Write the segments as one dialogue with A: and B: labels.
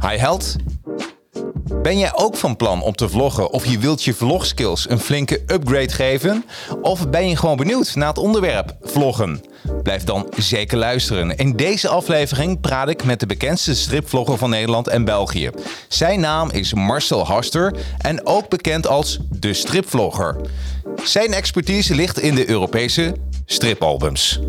A: Hi Held. Ben jij ook van plan om te vloggen of je wilt je vlogskills een flinke upgrade geven? Of ben je gewoon benieuwd naar het onderwerp vloggen? Blijf dan zeker luisteren. In deze aflevering praat ik met de bekendste stripvlogger van Nederland en België. Zijn naam is Marcel Haster en ook bekend als de stripvlogger. Zijn expertise ligt in de Europese stripalbums.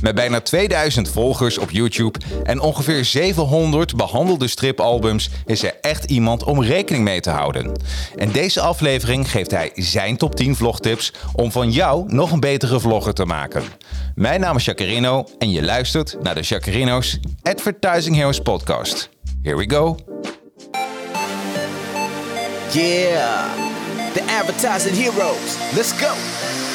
A: Met bijna 2000 volgers op YouTube en ongeveer 700 behandelde stripalbums is er echt iemand om rekening mee te houden. En deze aflevering geeft hij zijn top 10 vlogtips om van jou nog een betere vlogger te maken. Mijn naam is Jacarino en je luistert naar de Jacarino's Advertising Heroes podcast. Here we go.
B: Yeah, the advertising heroes. Let's go.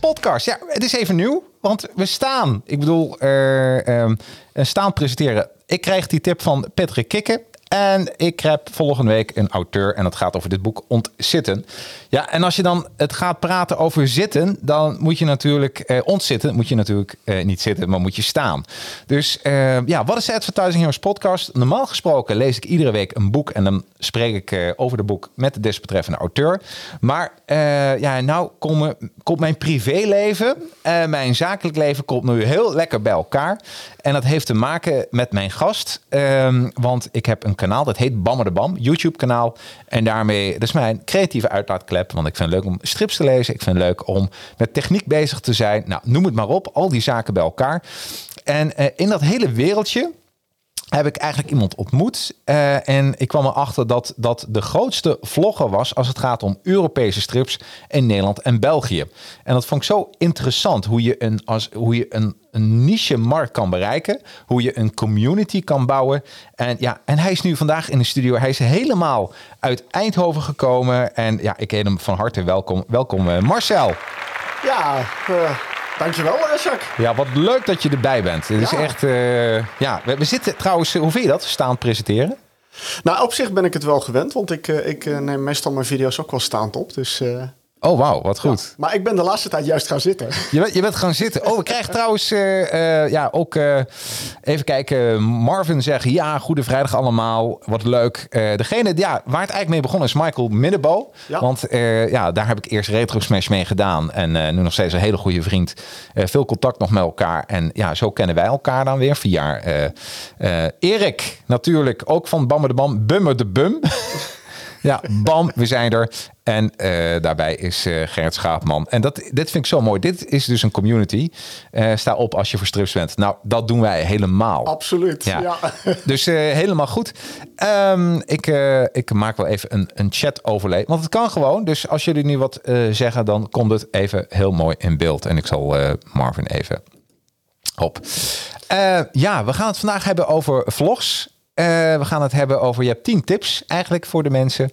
A: podcast. Ja, het is even nieuw, want we staan. Ik bedoel, eh, ehm, eh, staan presenteren. Ik krijg die tip van Patrick Kikken. En ik heb volgende week een auteur en dat gaat over dit boek Ontzitten. Ja, en als je dan het gaat praten over zitten, dan moet je natuurlijk eh, ontzitten. Moet je natuurlijk eh, niet zitten, maar moet je staan. Dus eh, ja, wat is de Advertising Heroes podcast? Normaal gesproken lees ik iedere week een boek en dan spreek ik eh, over de boek met de desbetreffende auteur. Maar eh, ja, nou komen, komt mijn privéleven en mijn zakelijk leven komt nu heel lekker bij elkaar. En dat heeft te maken met mijn gast. Ehm, want ik heb een kanaal, dat heet Bammer de Bam, YouTube kanaal. En daarmee, dat is mijn creatieve uitlaatklep. Want ik vind het leuk om strips te lezen. Ik vind het leuk om met techniek bezig te zijn. Nou, noem het maar op. Al die zaken bij elkaar. En eh, in dat hele wereldje heb ik eigenlijk iemand ontmoet. eh, en ik kwam erachter dat dat de grootste vlogger was als het gaat om Europese strips in Nederland en België. En dat vond ik zo interessant hoe je een, als, hoe je een, een niche markt kan bereiken, hoe je een community kan bouwen. En ja, en hij is nu vandaag in de studio. Hij is helemaal uit Eindhoven gekomen. En ja, ik heet hem van harte welkom. Welkom eh, Marcel.
C: Ja, eh, dankjewel eh, Jacques.
A: Ja, wat leuk dat je erbij bent. Het is
C: Ja.
A: echt. eh, ja, we, we zitten trouwens, eh, hoe vind je dat? Staand presenteren?
C: Nou, op zich ben ik het wel gewend, want ik, eh, ik eh, neem meestal mijn video's ook wel staand op. Dus, eh,
A: Oh, wauw, wat goed.
C: maar ik ben de laatste tijd juist gaan zitten.
A: Je, bent, je bent gaan zitten. Oh, we krijgen trouwens eh, eh, ja, ook eh, even kijken. Marvin zegt, ja, goede vrijdag allemaal. Wat leuk. Eh, degene ja, waar het eigenlijk mee begon is Michael Minnebo.
C: Ja.
A: Want eh, ja, daar heb ik eerst Retro Smash mee gedaan. En eh, nu nog steeds een hele goede vriend. Eh, veel contact nog met elkaar. En ja, zo kennen wij elkaar dan weer via eh, eh, Erik. Natuurlijk, ook van Bammer de Bam. Bummer de Bum. Ja, bam, we zijn er. En eh, daarbij is eh, Gerrit Schaapman. En dat, dit vind ik zo mooi. Dit is dus een community. Eh, sta op als je voor strips bent. Nou, dat doen wij helemaal.
C: Absoluut.
A: Ja.
C: Ja.
A: Dus eh, helemaal goed. Ehm, ik, eh, ik maak wel even een, een chat overlay. Want het kan gewoon. Dus als jullie nu wat eh, zeggen, dan komt het even heel mooi in beeld. En ik zal eh, Marvin even op. Eh, ja, we gaan het vandaag hebben over vlogs. Eh, we gaan het hebben over, je hebt tien tips eigenlijk voor de mensen.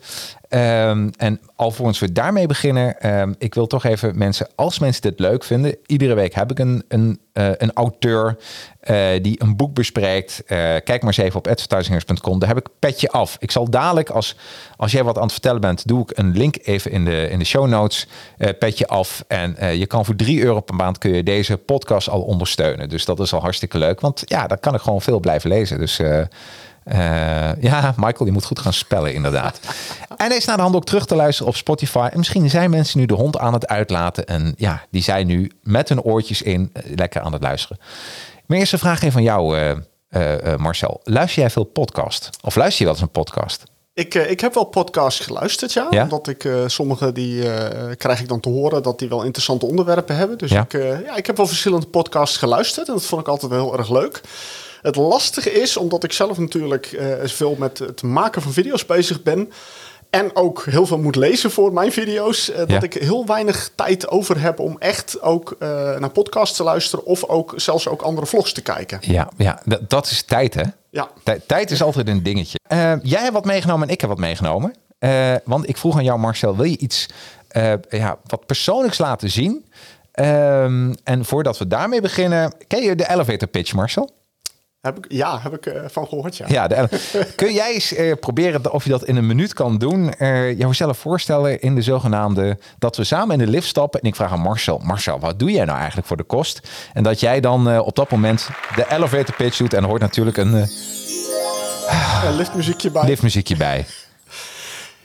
A: Ehm, en alvorens we daarmee beginnen, ehm, ik wil toch even mensen, als mensen dit leuk vinden, iedere week heb ik een, een, eh, een auteur eh, die een boek bespreekt. Eh, kijk maar eens even op advertisingers.com, daar heb ik petje af. Ik zal dadelijk, als, als jij wat aan het vertellen bent, doe ik een link even in de, in de show notes, eh, petje af. En eh, je kan voor 3 euro per maand kun je deze podcast al ondersteunen. Dus dat is al hartstikke leuk, want ja, daar kan ik gewoon veel blijven lezen. Dus... eh, eh, ja, Michael, je moet goed gaan spellen, inderdaad. en hij is naar de hand ook terug te luisteren op Spotify. En misschien zijn mensen nu de hond aan het uitlaten. En ja, die zijn nu met hun oortjes in eh, lekker aan het luisteren. Mijn eerste vraag even van jou, eh, eh, eh, Marcel, luister jij veel podcast? Of luister je wel eens een podcast?
C: Ik, eh, ik heb wel podcasts geluisterd, ja.
A: Ja?
C: Omdat ik eh, sommige die eh, krijg ik dan te horen dat die wel interessante onderwerpen hebben. Dus
A: Ja.
C: Ik, eh, ja, ik heb wel verschillende podcasts geluisterd en dat vond ik altijd wel heel erg leuk. Het lastige is, omdat ik zelf natuurlijk eh, veel met het maken van video's bezig ben. En ook heel veel moet lezen voor mijn video's. eh, dat
A: Ja.
C: ik heel weinig tijd over heb om echt ook eh, naar podcasts te luisteren. Of ook zelfs ook andere vlogs te kijken.
A: Ja, ja dat, dat is tijd, hè?
C: Ja.
A: Tij- tijd is altijd een dingetje. Eh, jij hebt wat meegenomen en ik heb wat meegenomen. Eh, want ik vroeg aan jou, Marcel, wil je iets eh, ja, wat persoonlijks laten zien? Ehm, en voordat we daarmee beginnen, ken je de elevator pitch, Marcel?
C: Heb ik, ja, heb ik eh, van gehoord, ja.
A: Ja, de ele- kun jij eens eh, proberen of je dat in een minuut kan doen? Eh jouzelf voorstellen in de zogenaamde dat we samen in de lift stappen en ik vraag aan Marcel, Marcel, wat doe jij nou eigenlijk voor de kost? En dat jij dan eh, op dat moment de elevator pitch doet en er hoort natuurlijk een eh,
C: Eh, liftmuziekje bij.
A: liftmuziekje bij.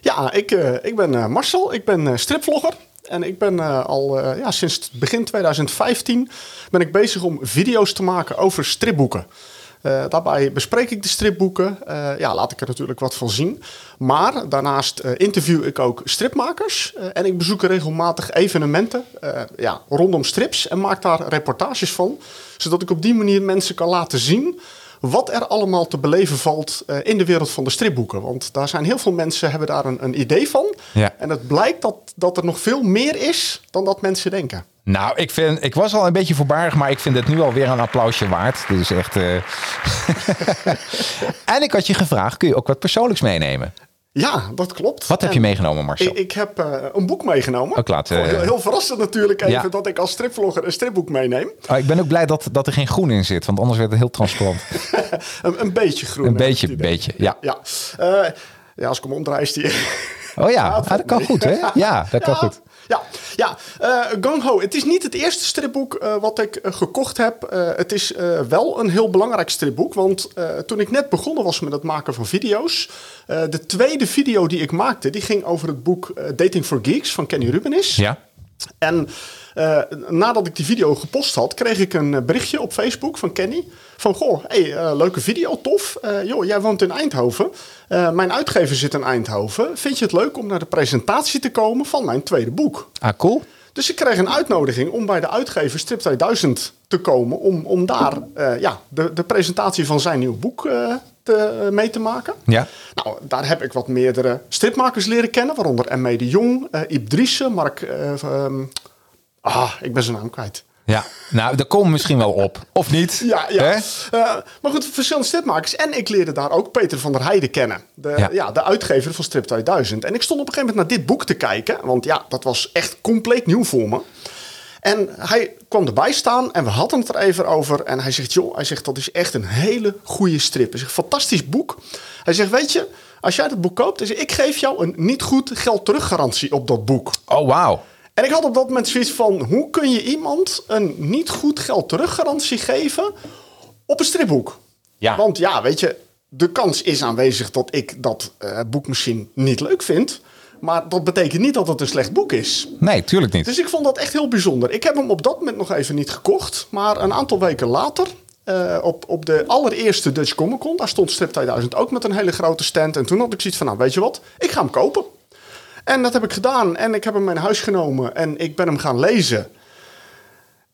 C: Ja, ik, eh, ik ben eh, Marcel, ik ben eh, stripvlogger. En ik ben eh, al eh, ja, sinds begin 2015 ben ik bezig om video's te maken over stripboeken. Eh, daarbij bespreek ik de stripboeken. Eh, ja, laat ik er natuurlijk wat van zien. Maar daarnaast eh, interview ik ook stripmakers. Eh, en ik bezoek regelmatig evenementen eh, ja, rondom strips. En maak daar reportages van. Zodat ik op die manier mensen kan laten zien wat er allemaal te beleven valt eh, in de wereld van de stripboeken. Want daar zijn heel veel mensen hebben daar een, een idee van.
A: Ja.
C: En het blijkt dat, dat er nog veel meer is dan dat mensen denken.
A: Nou, ik, vind, ik was al een beetje voorbarig, maar ik vind het nu alweer een applausje waard. Dit is echt. eh. en ik had je gevraagd: kun je ook wat persoonlijks meenemen?
C: Ja, dat klopt.
A: Wat heb je
C: En
A: meegenomen, Marcel?
C: Ehm, Ik, ik heb eh, een boek meegenomen.
A: Ook laten- eh,
C: Gewoon heel, heel verrassend natuurlijk even
A: Ja.
C: dat ik als stripvlogger een stripboek meeneem.
A: Oh, ik ben ook blij dat, dat er geen groen in zit, want anders werd het heel transparant.
C: Een, een beetje groen.
A: Een
C: heb ik
A: beetje,
C: het idee.
A: beetje, ja.
C: Ja, Eh, ja als ik hem omdraai is die...
A: Oh ja, ah, dat kan goed, hè? Ja, dat kan
C: Ja,
A: goed.
C: Ja, ja. Eh, Gung Ho. Het is niet het eerste stripboek eh, wat ik eh, gekocht heb. Eh, het is eh, wel een heel belangrijk stripboek. Want eh, toen ik net begonnen was met het maken van video's... eh, de tweede video die ik maakte, die ging over het boek eh, Dating for Geeks van Kenny Rubenis.
A: Ja.
C: En eh, nadat ik die video gepost had, kreeg ik een eh, berichtje op Facebook van Kenny. Van, goh, hey, eh, leuke video, tof. Eh, joh, jij woont in Eindhoven. Eh, mijn uitgever zit in Eindhoven. Vind je het leuk om naar de presentatie te komen van mijn tweede boek?
A: Ah, cool.
C: Dus ik kreeg een uitnodiging om bij de uitgever Strip 2000 te komen. Om, om daar eh, ja, de, de presentatie van zijn nieuw boek eh, te, eh, mee te maken.
A: Ja.
C: Nou, daar heb ik wat meerdere stripmakers leren kennen. Waaronder M.E. de Jong, eh Iep Driessen, Mark... eh, ehm, ah, ik ben zijn naam kwijt.
A: Ja, nou, daar komen we misschien wel op. Of niet?
C: Ja, ja.
A: Hè?
C: Eh, maar goed, verschillende stripmakers. En ik leerde daar ook Peter van der Heijden kennen. De,
A: Ja.
C: ja. de uitgever van Strip 2000. En ik stond op een gegeven moment naar dit boek te kijken. Want ja, dat was echt compleet nieuw voor me. En hij kwam erbij staan en we hadden het er even over. En hij zegt, joh, hij zegt, dat is echt een hele goede strip. Hij zegt, fantastisch boek. Hij zegt, weet je, als jij dat boek koopt... hij zegt, ik geef jou een niet goed geld teruggarantie op dat boek.
A: Oh, wauw.
C: En ik had op dat moment zoiets van: hoe kun je iemand een niet goed geld teruggarantie geven op een stripboek?
A: Ja.
C: Want ja, weet je, de kans is aanwezig dat ik dat eh, boek misschien niet leuk vind. Maar dat betekent niet dat het een slecht boek is.
A: Nee, tuurlijk niet.
C: Dus ik vond dat echt heel bijzonder. Ik heb hem op dat moment nog even niet gekocht. Maar een aantal weken later, eh, op, op de allereerste Dutch Comic Con, daar stond Strip 2000 ook met een hele grote stand. En toen had ik zoiets van, nou weet je wat, ik ga hem kopen. En dat heb ik gedaan. En ik heb hem in huis genomen en ik ben hem gaan lezen.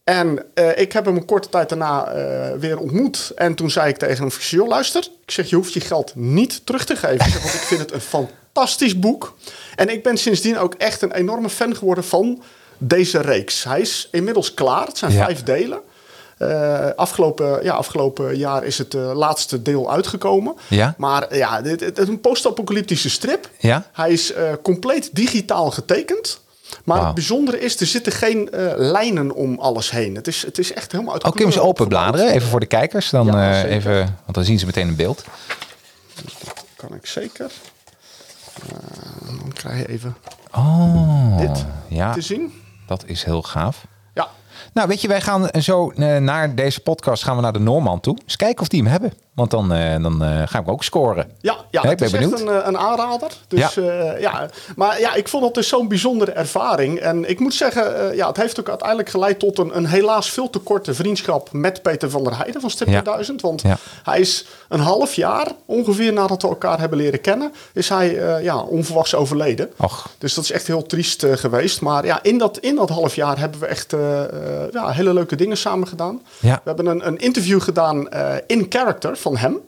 C: En eh, ik heb hem een korte tijd daarna eh, weer ontmoet. En toen zei ik tegen hem, ik zeg, joh, luister, ik zeg, je hoeft je geld niet terug te geven. Ik zeg, want ik vind het een fantastisch boek. En ik ben sindsdien ook echt een enorme fan geworden van deze reeks. Hij is inmiddels klaar. Het zijn
A: Ja.
C: vijf delen. Eh, afgelopen, ja, afgelopen jaar is het eh, laatste deel uitgekomen.
A: Ja.
C: Maar eh, ja, dit, dit- het is een post-apocalyptische strip.
A: Ja.
C: Hij is eh, compleet digitaal getekend. Maar
A: Wauw.
C: het bijzondere is, er zitten geen eh, lijnen om alles heen. Het is, het is echt helemaal uit
A: Oh, kun je hem eens
C: kleur
A: open bladeren? Even voor de kijkers. Dan,
C: Ja,
A: eh,
C: zeker.
A: even, want dan zien ze meteen een beeld.
C: opgebouwd. Kan ik zeker. Eh, dan krijg je even
A: Oh,
C: dit
A: ja.
C: te zien.
A: Dat is heel gaaf.
C: Ja,
A: Nou, weet je, wij gaan zo eh, naar deze podcast gaan we naar de Noorman toe. Eens kijken of die hem hebben. Want Want dan, eh, dan eh, ga ik ook scoren.
C: Ja, ja
A: Hè, ik
C: het
A: ben
C: is
A: benieuwd.
C: echt een, eh, een aanrader. Dus,
A: Ja.
C: ja. ja. Maar ja, ik vond dat dus zo'n bijzondere ervaring. En ik moet zeggen, eh, ja, het heeft ook uiteindelijk geleid tot een, een helaas veel te korte vriendschap met Peter van der Heijden van Stip
A: Ja.
C: 1000. Want
A: Ja.
C: hij is een half jaar, ongeveer nadat we elkaar hebben leren kennen, is hij eh, ja, onverwachts overleden.
A: Och.
C: Dus dat is echt heel triest eh, geweest. Maar ja, in dat, in dat half jaar hebben we echt eh, eh, ja, hele leuke dingen samen gedaan.
A: Ja.
C: We hebben een, een interview gedaan eh, in character van hem.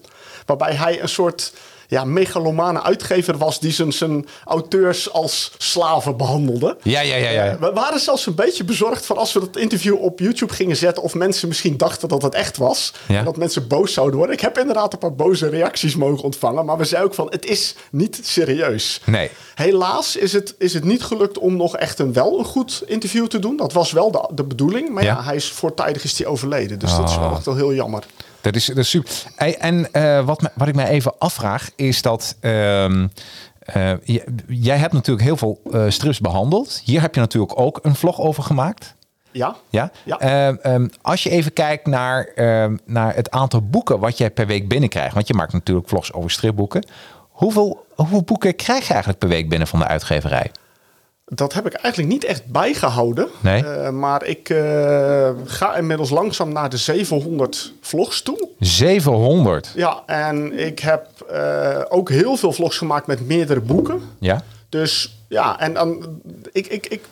C: Waarbij hij een soort ja, megalomane uitgever was die zijn, zijn auteurs als slaven behandelde.
A: Ja, ja, ja, ja.
C: Eh, we waren zelfs een beetje bezorgd van als we dat interview op YouTube gingen zetten... of mensen misschien dachten dat het echt was.
A: Ja.
C: En dat mensen boos zouden worden. Ik heb inderdaad een paar boze reacties mogen ontvangen. Maar we zeiden ook van, het is niet serieus.
A: Nee.
C: Helaas is het, is het niet gelukt om nog echt een wel een goed interview te doen. Dat was wel de, de bedoeling. Maar ja.
A: Ja.
C: hij is voortijdig is hij overleden. Dus dat is wel
A: Ah.
C: echt wel heel jammer.
A: Dat is, dat is super. En, en, eh, wat, me- wat ik mij even afvraag is dat. ehm, eh, j- jij hebt natuurlijk heel veel eh strips behandeld. Hier heb je natuurlijk ook een vlog over gemaakt.
C: Ja?
A: Ja?
C: Ja.
A: Ehm, ehm, als je even kijkt naar, ehm, naar het aantal boeken wat jij per week binnenkrijgt. Want je maakt natuurlijk vlogs over stripboeken. Hoeveel, hoeveel boeken krijg je eigenlijk per week binnen van de uitgeverij?
C: Dat heb ik eigenlijk niet echt bijgehouden.
A: Nee.
C: Eh, maar ik eh, ga inmiddels langzaam naar de 700 vlogs toe.
A: 700.
C: Ja, en ik heb eh, ook heel veel vlogs gemaakt met meerdere boeken.
A: Ja?
C: Dus ja, en dan, ik, ik, ik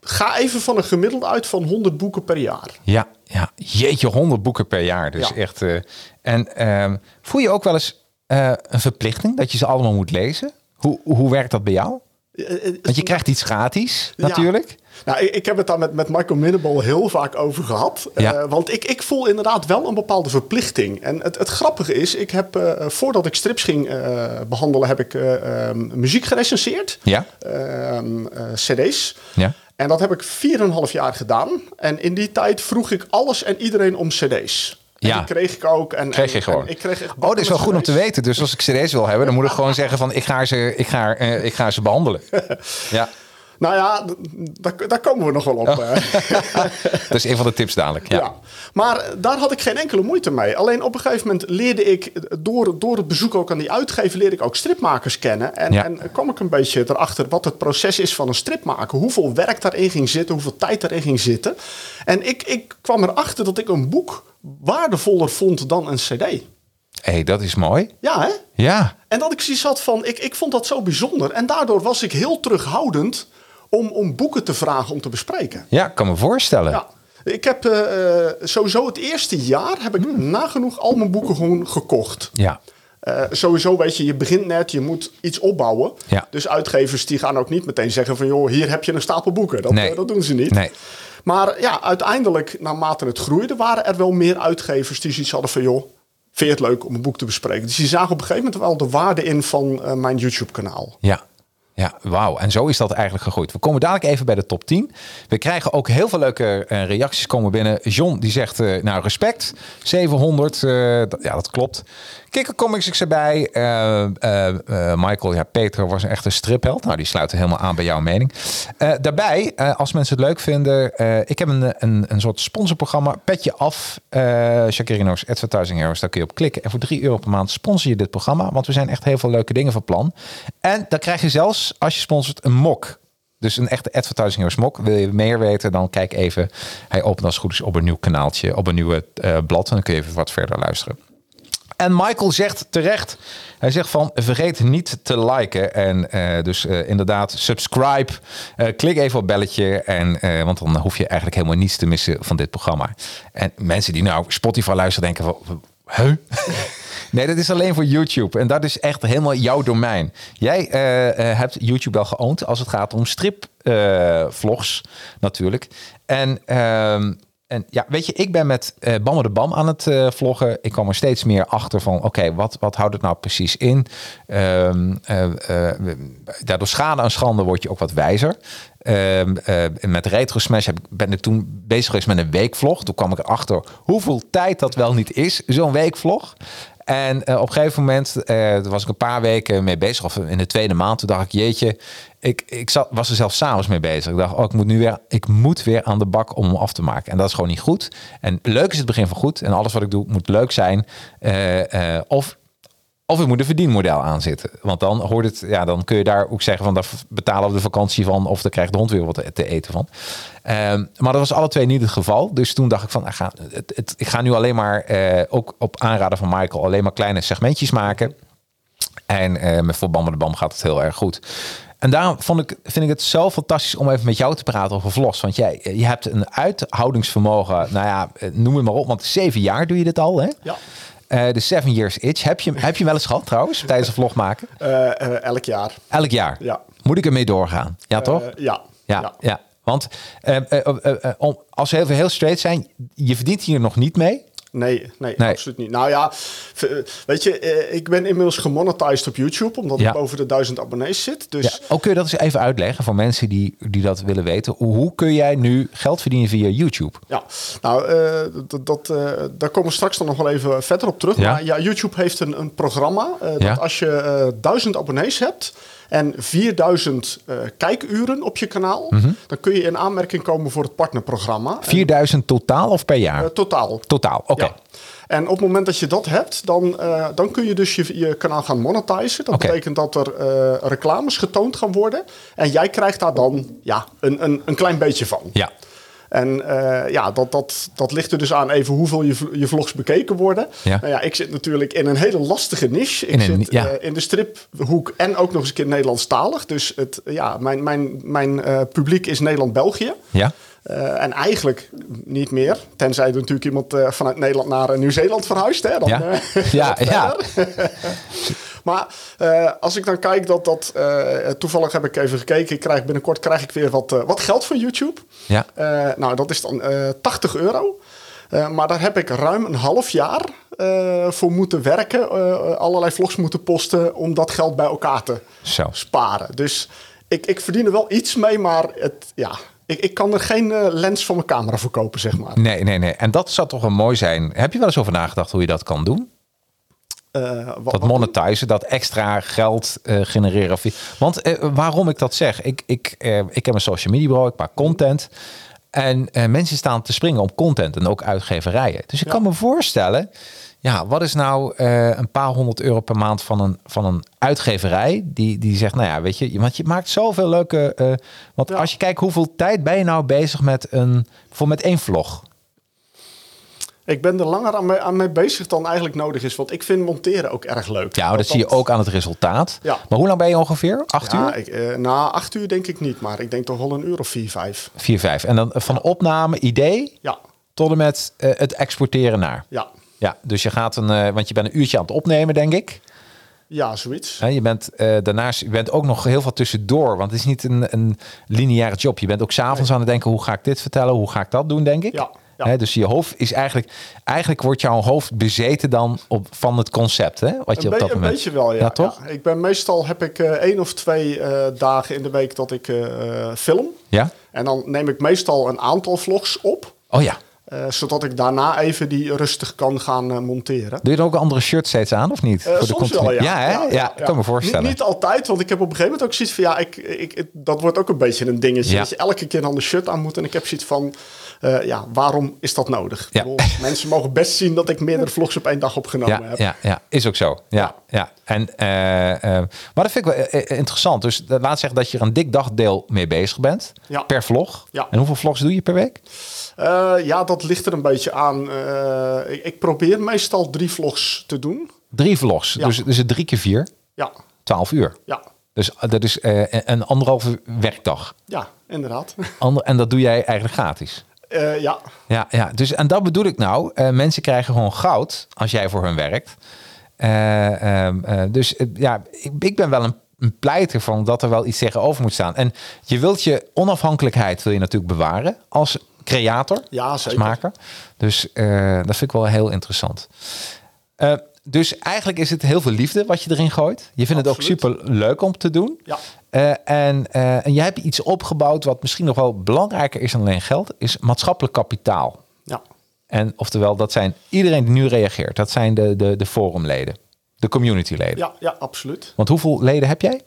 C: ga even van een gemiddelde uit van 100 boeken per jaar.
A: Ja, ja. Jeetje, 100 boeken per jaar. Dus
C: Ja.
A: echt. eh, en ehm, voel je ook wel eens eh, een verplichting dat je ze allemaal moet lezen? Hoe, hoe werkt dat bij jou?
C: Eh, eh,
A: Want je krijgt iets gratis,
C: Ja.
A: natuurlijk.
C: Nou, ik, ik heb het daar met, met Michael Minnebol heel vaak over gehad.
A: Ja.
C: Eh, want ik, ik voel inderdaad wel een bepaalde verplichting. En het, het grappige is, ik heb, eh, voordat ik strips ging eh, behandelen, heb ik eh, ehm, muziek gerecenseerd.
A: Ja.
C: Ehm, eh, cd's.
A: Ja.
C: En dat heb ik 4,5 jaar gedaan. En in die tijd vroeg ik alles en iedereen om cd's. En
A: Ja.
C: die kreeg ik ook. En,
A: Kreeg je
C: en-
A: gewoon.
C: en ik kreeg echt
A: oh, dat is wel goed om te
C: CD's.
A: weten. Dus als ik CD's wil hebben, dan moet ik gewoon zeggen van ik ga ze, ik ga, eh, ik ga ze behandelen. Ja,
C: Nou ja, d- daar, daar komen we nog wel op.
A: Oh.
C: eh.
A: dat is een van de tips dadelijk. Ja.
C: Ja. Maar eh, daar had ik geen enkele moeite mee. Alleen op een gegeven moment leerde ik, eh, door, door het bezoek ook aan die uitgever, leerde ik ook stripmakers kennen. En,
A: Ja.
C: en eh, kwam ik een beetje erachter wat het proces is van een strip maken. Hoeveel werk daarin ging zitten, hoeveel tijd daarin ging zitten. En ik, ik kwam erachter dat ik een boek waardevoller vond dan een cd.
A: hey, dat is mooi.
C: Ja, hè?
A: Ja,
C: En dat ik zoiets had van, ik, ik vond dat zo bijzonder. En daardoor was ik heel terughoudend om, om boeken te vragen om te bespreken.
A: ja, ik kan me voorstellen.
C: Ja. Ik heb eh, eh, sowieso het eerste jaar heb ik nagenoeg al mijn boeken gewoon gekocht.
A: Ja.
C: Eh, sowieso weet je, je begint net, je moet iets opbouwen.
A: Ja.
C: Dus uitgevers die gaan ook niet meteen zeggen van... joh, hier heb je een stapel boeken. Dat,
A: Nee.
C: eh, dat doen ze niet.
A: Nee.
C: Maar ja, uiteindelijk, naarmate het groeide... waren er wel meer uitgevers die zoiets hadden van... joh, vind je het leuk om een boek te bespreken? Dus die zagen op een gegeven moment wel de waarde in van eh, mijn YouTube-kanaal.
A: Ja. Ja, wauw. En zo is dat eigenlijk gegroeid. We komen dadelijk even bij de top 10. We krijgen ook heel veel leuke eh, reacties komen binnen. John die zegt, eh, nou respect, 700. eh, dat- ja, dat klopt. Kikker Comics is erbij. Eh, eh, eh, Michael, ja, Peter was echt een stripheld. Nou, die sluiten helemaal aan bij jouw mening. Eh, daarbij, eh, als mensen het leuk vinden, eh, ik heb een, een, een soort sponsorprogramma. Petje af, eh Shakirino's Advertising Heroes. Daar kun je op klikken. En voor 3 euro per maand sponsor je dit programma. Want we zijn echt heel veel leuke dingen van plan. En dan krijg je zelfs, als je sponsort, een mok. Dus een echte Advertising Heroes mok. Wil je meer weten, dan kijk even. Hij opent als het goed is op een nieuw kanaaltje, op een nieuwe eh, blad. En dan kun je even wat verder luisteren. En Michael zegt terecht, hij zegt van vergeet niet te liken. En eh, dus eh, inderdaad, subscribe. Eh, klik even op belletje, en, eh, want dan hoef je eigenlijk helemaal niets te missen van dit programma. En mensen die nou Spotify luisteren denken van, huh? nee, dat is alleen voor YouTube. En dat is echt helemaal jouw domein. Jij eh, eh, hebt YouTube wel geoond als het gaat om stripvlogs vlogs natuurlijk. En... ehm, en ja, weet je, ik ben met eh Bamme de Bam aan het eh, vloggen. Ik kwam er steeds meer achter van, oké, wat, wat houdt het nou precies in? Ehm, eh, eh, we- daardoor schade aan schande word je ook wat wijzer. Ehm, eh, en met Retro Smash heb ik- ben ik toen bezig geweest met een weekvlog. Toen kwam ik erachter hoeveel tijd dat wel niet is, zo'n weekvlog. En eh, op een gegeven moment, eh, daar was ik een paar weken mee bezig. Of in de tweede maand, toen dacht ik, jeetje. Ik, ik zat, was er zelfs s'avonds mee bezig. Ik dacht, oh, ik moet nu weer, ik moet weer aan de bak om hem af te maken. En dat is gewoon niet goed. En leuk is het begin van goed. En alles wat ik doe moet leuk zijn. Eh, eh, of of ik moet een verdienmodel aanzetten. Want dan hoort het, ja, dan kun je daar ook zeggen van daar betalen we de vakantie van of daar krijgt de hond weer wat te eten van. Ehm, maar dat was alle twee niet het geval. Dus toen dacht ik van, ik ga, het, het- ik ga nu alleen maar, eh, ook op aanraden van Michael, alleen maar kleine segmentjes maken. En eh, met Voor Bam met de Bam gaat het heel erg goed. En daarom vond ik, vind ik het zo fantastisch om even met jou te praten over Vlos. Want jij eh, je hebt een uithoudingsvermogen. Nou ja, eh, noem het maar op. Want zeven jaar doe je dit al, hè?
C: Ja.
A: Eh, de Seven Years Itch. Heb je, heb je hem wel eens gehad trouwens, tijdens een vlog maken?
C: Eh, eh, elk jaar.
A: Elk jaar.
C: Ja.
A: Moet ik ermee doorgaan? Ja, toch?
C: Eh, ja.
A: Ja, ja. Want eh, eh, eh, eh, om- als we even heel straight zijn, je verdient hier nog niet mee.
C: Nee, nee,
A: Nee.
C: absoluut niet. Nou ja, v- weet je, eh, ik ben inmiddels gemonetized op YouTube, omdat
A: Ja.
C: ik boven de duizend abonnees zit. Dus
A: Ja. Ook kun je dat eens even uitleggen voor mensen die, die dat willen weten. Hoe- Hoe kun jij nu geld verdienen via YouTube?
C: Ja, nou, eh, dat, dat, eh, daar komen we straks dan nog wel even verder op terug.
A: Ja.
C: Maar ja, YouTube heeft een, een programma eh,
A: Ja.
C: dat als je eh, 1000 abonnees hebt en 4000 eh, kijkuren op je kanaal,
A: Mhm.
C: dan kun je in aanmerking komen voor het partnerprogramma. En,
A: 4000 totaal of per jaar?
C: eh, totaal.
A: totaal, oké.
C: Ja. En op het moment dat je dat hebt, dan, eh, dan kun je dus je, je kanaal gaan monetizen. Dat
A: Oké.
C: betekent dat er eh, reclames getoond gaan worden. En jij krijgt daar dan ja, een, een, een klein beetje van.
A: Ja.
C: En eh, ja, dat, dat, dat ligt er dus aan even hoeveel je, vl- je vlogs bekeken worden.
A: Ja.
C: Nou ja, ik zit natuurlijk in een hele lastige niche. Ik
A: In een-
C: zit
A: ja.
C: eh, in de striphoek en ook nog eens een keer Nederlandstalig. Dus het, ja, mijn, mijn, mijn eh, publiek is Nederland-België.
A: Ja.
C: Eh, en eigenlijk niet meer. Tenzij er natuurlijk iemand eh, vanuit Nederland naar eh, Nieuw-Zeeland verhuist. Hè? Dan,
A: Ja.
C: eh,
A: Ja,
C: wat
A: ja.
C: verder. maar eh, als ik dan kijk dat dat... eh, toevallig heb ik even gekeken. Ik krijg, binnenkort krijg ik weer wat, eh, wat geld van YouTube.
A: Ja.
C: Eh, nou, dat is dan eh 80 euro. Eh, maar daar heb ik ruim een half jaar eh, voor moeten werken. eh, allerlei vlogs moeten posten om dat geld bij elkaar te
A: Zo.
C: sparen. Dus ik, ik verdien er wel iets mee, maar het, ja, ik, ik kan er geen eh, lens van mijn camera voor kopen, zeg maar.
A: Nee, nee, nee. En dat zou toch wel mooi zijn. Heb je wel eens over nagedacht hoe je dat kan doen?
C: Eh, wa-
A: Dat
C: wa-
A: monetizen, dat extra geld eh, genereren. Want eh, waarom ik dat zeg? Ik, ik, eh, ik heb een social media bureau, ik maak content. En eh, mensen staan te springen op content en ook uitgeverijen. Dus ik kan me voorstellen, ja, wat is nou eh, een paar honderd euro per maand van een, van een uitgeverij die, die zegt, nou ja, weet je, want je maakt zoveel leuke. eh, want als je kijkt hoeveel tijd ben je nou bezig met een, voor met één vlog?
C: ik ben er langer aan mee, aan mee bezig dan eigenlijk nodig is. Want ik vind monteren ook erg leuk.
A: Ja, maar dat zie je ook aan het resultaat.
C: Ja.
A: Maar hoe lang ben je ongeveer? Acht uur?
C: Ja, ik, eh, na acht uur denk ik niet, maar ik denk toch wel een uur of vier, vijf.
A: 4, 5. En dan eh, van opname, idee,
C: Ja,
A: tot en met eh, het exporteren naar.
C: ja,
A: Ja, dus je gaat een, eh, want je bent een uurtje aan het opnemen, denk ik.
C: ja, zoiets.
A: Hè, je bent eh, daarnaast, je bent ook nog heel veel tussendoor, want het is niet een, een lineaire job. Je bent ook s'avonds aan het denken, hoe ga ik dit vertellen, hoe ga ik dat doen, denk ik.
C: Ja, ja.
A: Hè, dus je hoofd is eigenlijk, eigenlijk wordt jouw hoofd bezeten dan op, van het concept, hè? Wat je
C: Een,
A: op
C: be-
A: dat
C: een
A: moment.
C: beetje wel, ja.
A: toch?
C: Ja, Ik ben meestal heb ik eh, één of twee eh, dagen in de week dat ik eh, film.
A: Ja?
C: En dan neem ik meestal een aantal vlogs op.
A: Oh ja.
C: eh, zodat ik daarna even die rustig kan gaan eh, monteren.
A: Doe je dan ook een andere shirt steeds aan, of niet?
C: Eh,
A: Voor de
C: soms wel, ja.
A: continu- hè? Ja, ik kan me voorstellen.
C: Niet, niet altijd, want ik heb op een gegeven moment ook zoiets van... ja, ik, ik, ik- dat wordt ook een beetje een dingetje.
A: Ja.
C: Dat je elke keer een ander shirt aan moet. En ik heb zoiets van, eh, ja, waarom is dat nodig?
A: Ja.
C: Ik bedoel, mensen mogen best zien dat ik meerdere vlogs op één dag opgenomen
A: ja,
C: heb.
A: Ja, ja, is ook zo. Ja, ja. En, eh, eh, maar dat vind ik wel eh, eh, interessant. Dus dat laat zeggen dat je er een dik dagdeel mee bezig bent.
C: Ja.
A: Per vlog.
C: Ja.
A: En hoeveel vlogs doe je per week?
C: Eh, ja, dat ligt er een beetje aan. Eh, ik, ik probeer meestal drie vlogs te doen.
A: Drie vlogs.
C: Ja.
A: Dus, dus het drie keer vier.
C: Ja,
A: Twaalf uur.
C: ja,
A: Dus dat is eh, een anderhalve werkdag.
C: ja, inderdaad.
A: Ander, en dat doe jij eigenlijk gratis.
C: Eh, ja,
A: Ja, ja. Dus, en dat bedoel ik nou. Eh, mensen krijgen gewoon goud als jij voor hun werkt. Eh, ehm, eh, dus eh, ja, ik, ik ben wel een, een pleiter van dat er wel iets tegenover moet staan. En je wilt je onafhankelijkheid wil je natuurlijk bewaren als creator,
C: Ja,
A: als
C: zeker.
A: maker. Dus eh, dat vind ik wel heel interessant. Eh, dus eigenlijk is het heel veel liefde wat je erin gooit. Je vindt
C: Absoluut.
A: het ook super leuk om te doen.
C: Ja.
A: Eh, en, eh, en jij hebt iets opgebouwd wat misschien nog wel belangrijker is dan alleen geld, is maatschappelijk kapitaal.
C: ja.
A: En oftewel, dat zijn iedereen die nu reageert. Dat zijn de, de, de forumleden, de communityleden.
C: Ja, ja absoluut.
A: Want hoeveel leden heb jij?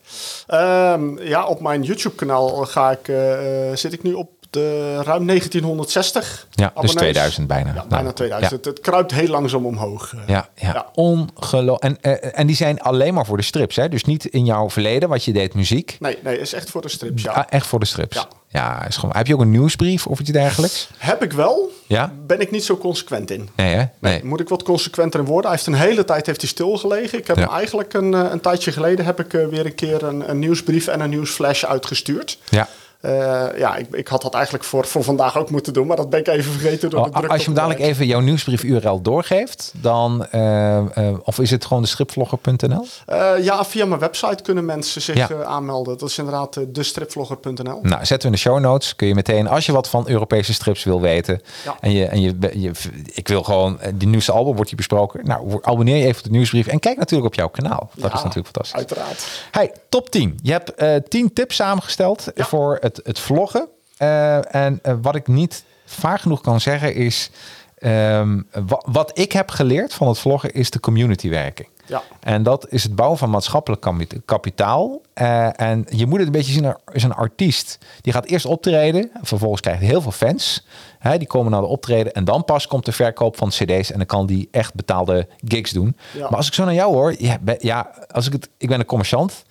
C: Ehm, ja, op mijn YouTube-kanaal ga ik, eh, zit ik nu op de ruim 1960
A: Ja, dus
C: abonnees.
A: 2000 bijna.
C: Ja,
A: Nou,
C: bijna 2000.
A: ja.
C: Het, het kruipt heel langzaam omhoog. eh.
A: Ja, ja.
C: Ja.
A: ongelooflijk. En, eh, en die zijn alleen maar voor de strips, hè? Dus niet in jouw verleden, wat je deed muziek.
C: Nee, nee, is echt voor de strips. Ja.
A: Ah, echt voor de strips. Ja,
C: Ja.
A: is gewoon. Heb je ook een nieuwsbrief of iets dergelijks?
C: Heb ik wel,
A: Ja?
C: ben ik niet zo consequent in.
A: Nee, hè? Nee.
C: Moet ik wat consequenter in worden? Hij heeft een hele tijd heeft hij stilgelegen. Ik heb
A: Ja.
C: hem eigenlijk een, eh, een tijdje geleden heb ik eh, weer een keer een, een nieuwsbrief en een nieuwsflash uitgestuurd.
A: Ja.
C: Eh, ja, ik, ik had dat eigenlijk voor, voor vandaag ook moeten doen, maar dat ben ik even vergeten door de
A: Oh,
C: druk.
A: als je hem
C: op het
A: dadelijk
C: werk.
A: even jouw nieuwsbrief URL doorgeeft, dan. eh, eh, of is het gewoon de stripvlogger.nl?
C: Eh, ja, via mijn website kunnen mensen zich
A: Ja.
C: eh, aanmelden. Dat is inderdaad eh, destripvlogger.nl.
A: Nou, zetten we in de show notes. Kun je meteen, als je wat van Europese strips wil weten.
C: Ja.
A: En, je, en je, je, ik wil gewoon, eh, die nieuwste album wordt hier besproken. Nou, abonneer je even op de nieuwsbrief. En kijk natuurlijk op jouw kanaal. Dat
C: Ja,
A: is natuurlijk fantastisch.
C: Uiteraard.
A: Hey, top 10. Je hebt eh 10 tips samengesteld
C: Ja.
A: voor het, het vloggen. Eh, en eh, wat ik niet vaak genoeg kan zeggen is... ehm, wa- wat ik heb geleerd van het vloggen is de communitywerking.
C: Ja.
A: En dat is het bouwen van maatschappelijk kami- kapitaal. Eh, en je moet het een beetje zien als een artiest. Die gaat eerst optreden. Vervolgens krijgt hij heel veel fans. Hè, die komen naar de optreden. En dan pas komt de verkoop van cd's. En dan kan die echt betaalde gigs doen.
C: Ja.
A: Maar als ik zo naar jou hoor. Ja, ben- ja, als ik, het, ik ben een commerciant.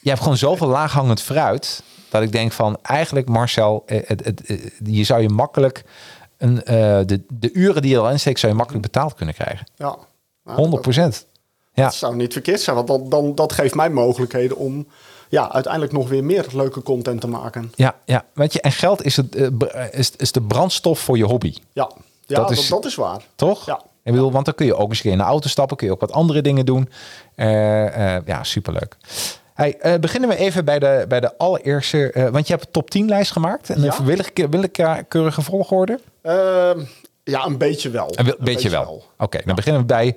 A: Je hebt gewoon zoveel laaghangend fruit. Dat ik denk van eigenlijk Marcel. eh, het- het- eh, je zou je makkelijk... Een, eh, de, de uren die je al insteekt zou je makkelijk betaald kunnen krijgen.
C: Ja. Nou,
A: 100 procent. Ja.
C: Dat zou niet verkeerd zijn, want dan, dan, dat geeft mij mogelijkheden om ja, uiteindelijk nog weer meer leuke content te maken.
A: Ja, ja, weet je, en geld is, het, eh, br- eh, is, is de brandstof voor je hobby,
C: Ja, ja
A: Dat
C: dat,
A: is-
C: dat, is waar.
A: toch?
C: Ja.
A: Ik bedoel, want dan kun je ook eens een keer in de auto stappen, kun je ook wat andere dingen doen. Eh, eh, ja, superleuk. Hey, eh, beginnen we even bij de, bij de allereerste, eh, want je hebt een top 10 lijst gemaakt en
C: Ja.
A: een willeke- willekeurige volgorde.
C: Ehm, ja, een beetje wel.
A: Een wi- beetje, wel. Oké, dan beginnen we bij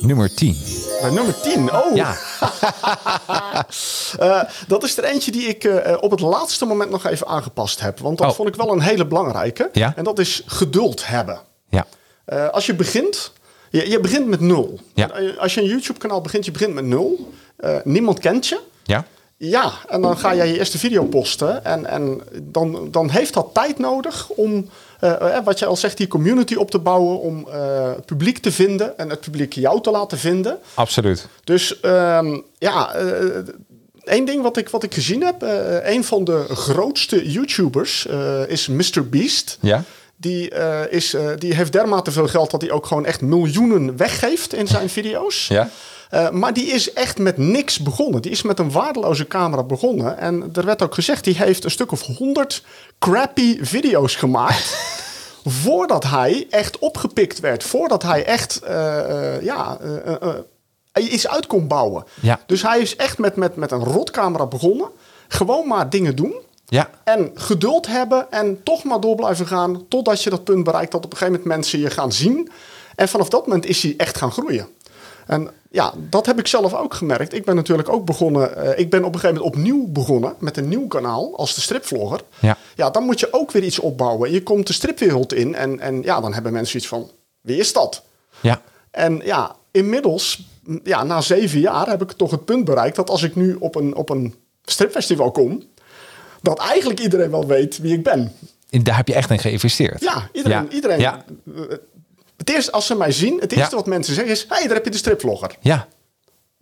A: nummer 10.
C: Bij nummer 10, oh.
A: Ja,
C: Eh, dat is er eentje die ik eh, op het laatste moment nog even aangepast heb. Want dat
A: Oh.
C: vond ik wel een hele belangrijke.
A: Ja.
C: En dat is geduld hebben.
A: ja,
C: Eh, als je begint, je, je begint met nul.
A: Ja.
C: En eh, Als je een YouTube-kanaal begint, je begint met nul. Eh, niemand kent je.
A: ja,
C: Ja, en dan ga jij je eerste video posten. En, en dan, dan heeft dat tijd nodig om, eh, eh, wat jij al zegt, die community op te bouwen. Om eh, publiek te vinden en het publiek jou te laten vinden.
A: absoluut.
C: Dus ehm, ja, eh, één ding wat ik, wat ik gezien heb. eh een van de grootste YouTubers eh, is Mr. Beast.
A: Ja,
C: Die, eh, is, eh, die heeft dermate veel geld dat hij ook gewoon echt miljoenen weggeeft in zijn video's.
A: ja,
C: Eh, maar die is echt met niks begonnen. Die is met een waardeloze camera begonnen. En er werd ook gezegd, die heeft een stuk of 100 crappy video's gemaakt. voordat hij echt opgepikt werd. Voordat hij echt eh, eh, ja, eh, eh, eh, iets uit kon bouwen.
A: Ja.
C: Dus hij is echt met, met, met een rotcamera begonnen. Gewoon maar dingen doen.
A: ja,
C: En geduld hebben en toch maar door blijven gaan totdat je dat punt bereikt dat op een gegeven moment mensen je gaan zien. En vanaf dat moment is hij echt gaan groeien. En ja, dat heb ik zelf ook gemerkt. Ik ben natuurlijk ook begonnen. eh, ik ben op een gegeven moment opnieuw begonnen met een nieuw kanaal als de stripvlogger.
A: Ja.
C: ja, dan moet je ook weer iets opbouwen. Je komt de stripwereld in en, en ja, dan hebben mensen iets van: wie is dat?
A: ja,
C: En ja, inmiddels, m, ja, na zeven jaar heb ik toch het punt bereikt dat als ik nu op een, op een stripfestival kom, dat eigenlijk iedereen wel weet wie ik ben.
A: daar heb je echt in geïnvesteerd.
C: Ja, iedereen.
A: Ja.
C: iedereen
A: Ja.
C: eh, Het eerste, als ze mij zien, het eerste
A: Ja.
C: wat mensen zeggen is: hé, hey, daar heb je de stripvlogger.
A: ja.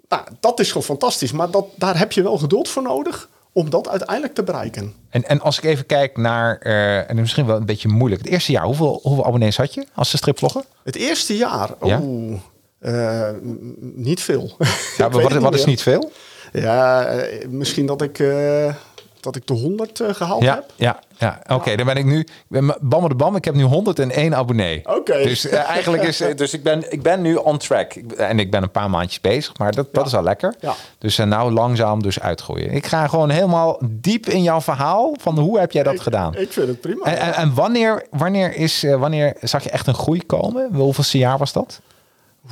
C: Nou, dat is gewoon fantastisch, maar dat, daar heb je wel geduld voor nodig om dat uiteindelijk te bereiken.
A: En, en als ik even kijk naar, eh, en misschien wel een beetje moeilijk. Het eerste jaar, hoeveel, hoeveel abonnees had je als de stripvlogger?
C: Het eerste jaar,
A: Ja.
C: oeh, eh, n- niet veel.
A: Ja,
C: Ik weet
A: wat,
C: het
A: wat is
C: meer.
A: niet veel?
C: Ja, eh, misschien dat ik, eh, dat ik de 100 eh, gehaald
A: Ja,
C: heb.
A: ja, ja. oké, dan ben ik nu, ik ben m- bam de bam, ik heb nu 101 abonnee.
C: Oké.
A: Dus eh, eigenlijk is, eh, dus ik ben, ik ben nu on track. Ik, en ik ben een paar maandjes bezig, maar dat, dat is al lekker.
C: Ja.
A: Dus en nou langzaam dus uitgroeien. Ik ga gewoon helemaal diep in jouw verhaal van hoe heb jij dat
C: Ik-
A: gedaan?
C: Ik vind het prima.
A: en, en, en wanneer, wanneer, is, eh, wanneer zag je echt een groei komen? Hoeveelste jaar was dat?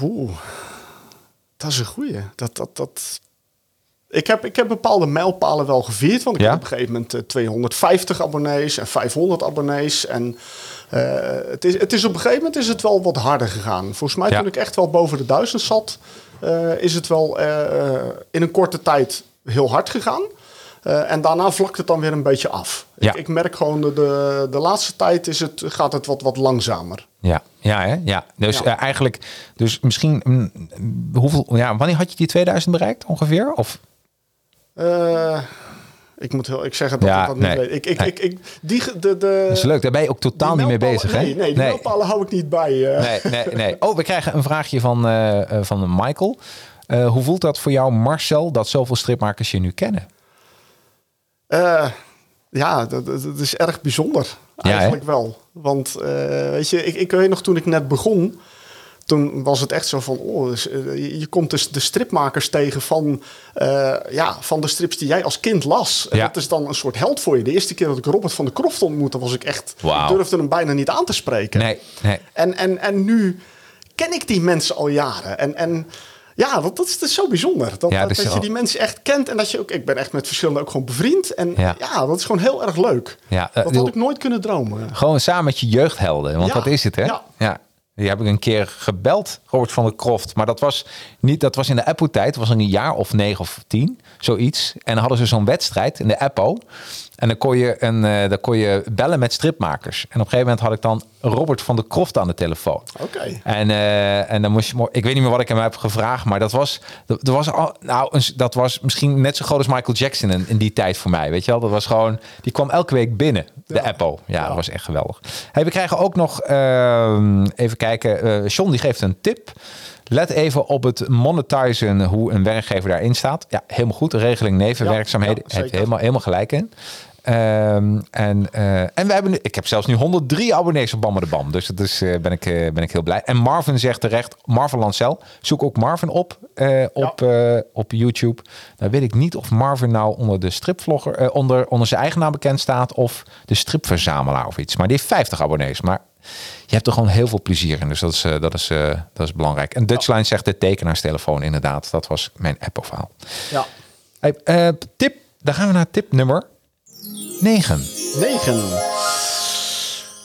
C: Oeh, dat is een goeie. Dat, dat, dat... Ik heb, ik heb bepaalde mijlpalen wel gevierd. Want ik
A: Ja?
C: heb op een gegeven moment eh, 250 abonnees en 500 abonnees. En eh, het, is, het is op een gegeven moment is het wel wat harder gegaan. Volgens mij
A: Ja.
C: toen ik echt wel boven de duizend zat, eh, is het wel eh, eh, in een korte tijd heel hard gegaan. Eh, en daarna vlakt het dan weer een beetje af.
A: Ja.
C: Ik, ik merk gewoon de, de, de laatste tijd is het, gaat het wat, wat langzamer.
A: Ja, ja, hè? ja. Dus
C: Ja.
A: eh, eigenlijk, dus misschien, mm, hoeveel, ja, wanneer had je die 2000 bereikt ongeveer? Of
C: Eh, ik moet heel ik zeggen dat
A: Ja,
C: ik dat niet
A: nee.
C: weet. Ik, ik,
A: Nee.
C: ik, ik, die, ge- de, de,
A: dat is leuk, daar ben je ook totaal
C: Eh, Die
A: niet mee
C: mijlpalen-
A: bezig, hè?
C: Nee, nee, die mijlpalen hou ik niet bij. eh.
A: nee, nee, nee. Oh, we krijgen een vraagje van, eh, eh, van Michael. Eh, hoe voelt dat voor jou, Marcel, dat zoveel stripmakers je nu kennen?
C: Eh, ja, dat, dat- dat is erg bijzonder.
A: Ja,
C: Eigenlijk wel. Want eh, weet je, ik, ik weet nog toen ik net begon. Toen was het echt zo van, oh, dus, eh, je- je komt dus de stripmakers tegen van, eh, ja, van de strips die jij als kind las. En
A: Ja.
C: dat is dan een soort held voor je. De eerste keer dat ik Robert van de Kroft ontmoette, was ik echt,
A: Wauw.
C: ik durfde hem bijna niet aan te spreken.
A: Nee, nee.
C: En, en, en nu ken ik die mensen al jaren. En, en ja, dat, dat, is, dat is zo bijzonder. Dat,
A: Ja, dat
C: dat,
A: is wel-
C: je die mensen echt kent. En dat je ook, ik ben echt met verschillende ook gewoon bevriend. En
A: Ja.
C: ja, dat is gewoon heel erg leuk.
A: Ja, eh,
C: dat
A: bedoel-
C: had ik nooit kunnen dromen.
A: Gewoon samen met je jeugdhelden, want
C: Ja,
A: dat is het, hè? Ja.
C: ja.
A: Die heb ik een keer gebeld, Robert van der Kroft. Maar dat was, niet, dat was in de Apple-tijd. Dat was een jaar of negen of tien, zoiets. En dan hadden ze zo'n wedstrijd in de Apple. En dan kon, je een, eh, dan kon je bellen met stripmakers. En op een gegeven moment had ik dan Robert van der Kroft aan de telefoon.
C: Oké.
A: En, eh, en dan moest je... mo- Ik weet niet meer wat ik hem heb gevraagd, maar dat was... Dat, dat was, al, nou, een s- dat was misschien net zo groot als Michael Jackson in, in die tijd voor mij. Weet je wel? Dat was gewoon... Die kwam elke week binnen, de Apple. Ja, dat was echt geweldig. Hey, we krijgen ook nog... ehm, even kijken. eh John die geeft een tip. Let even op het monetizen, hoe een werkgever daarin staat. Ja, helemaal goed. Regeling nevenwerkzaamheden.
C: Ja, ja,
A: Heb je
C: zeker.
A: helemaal, helemaal gelijk in. Ehm, en, eh, en we hebben nu, ik heb zelfs nu 103 abonnees op Bammer de Bam. Dus dat is, eh, ben, ik, eh, ben ik heel blij. En Marvin zegt terecht, Marvin Lancel. Zoek ook Marvin op eh, op, eh, op YouTube. Nou weet ik niet of Marvin nou onder de stripvlogger, eh, onder, onder zijn eigen naam bekend staat. Of de stripverzamelaar of iets. Maar die heeft 50 abonnees. Maar je hebt er gewoon heel veel plezier in. Dus dat is, eh, dat is, eh, dat is belangrijk. En Dutchline zegt de tekenaarstelefoon inderdaad. Dat was mijn Apple-verhaal.
C: Ja.
A: Hey, eh, tip, dan gaan we naar tip nummer 9.
C: 9.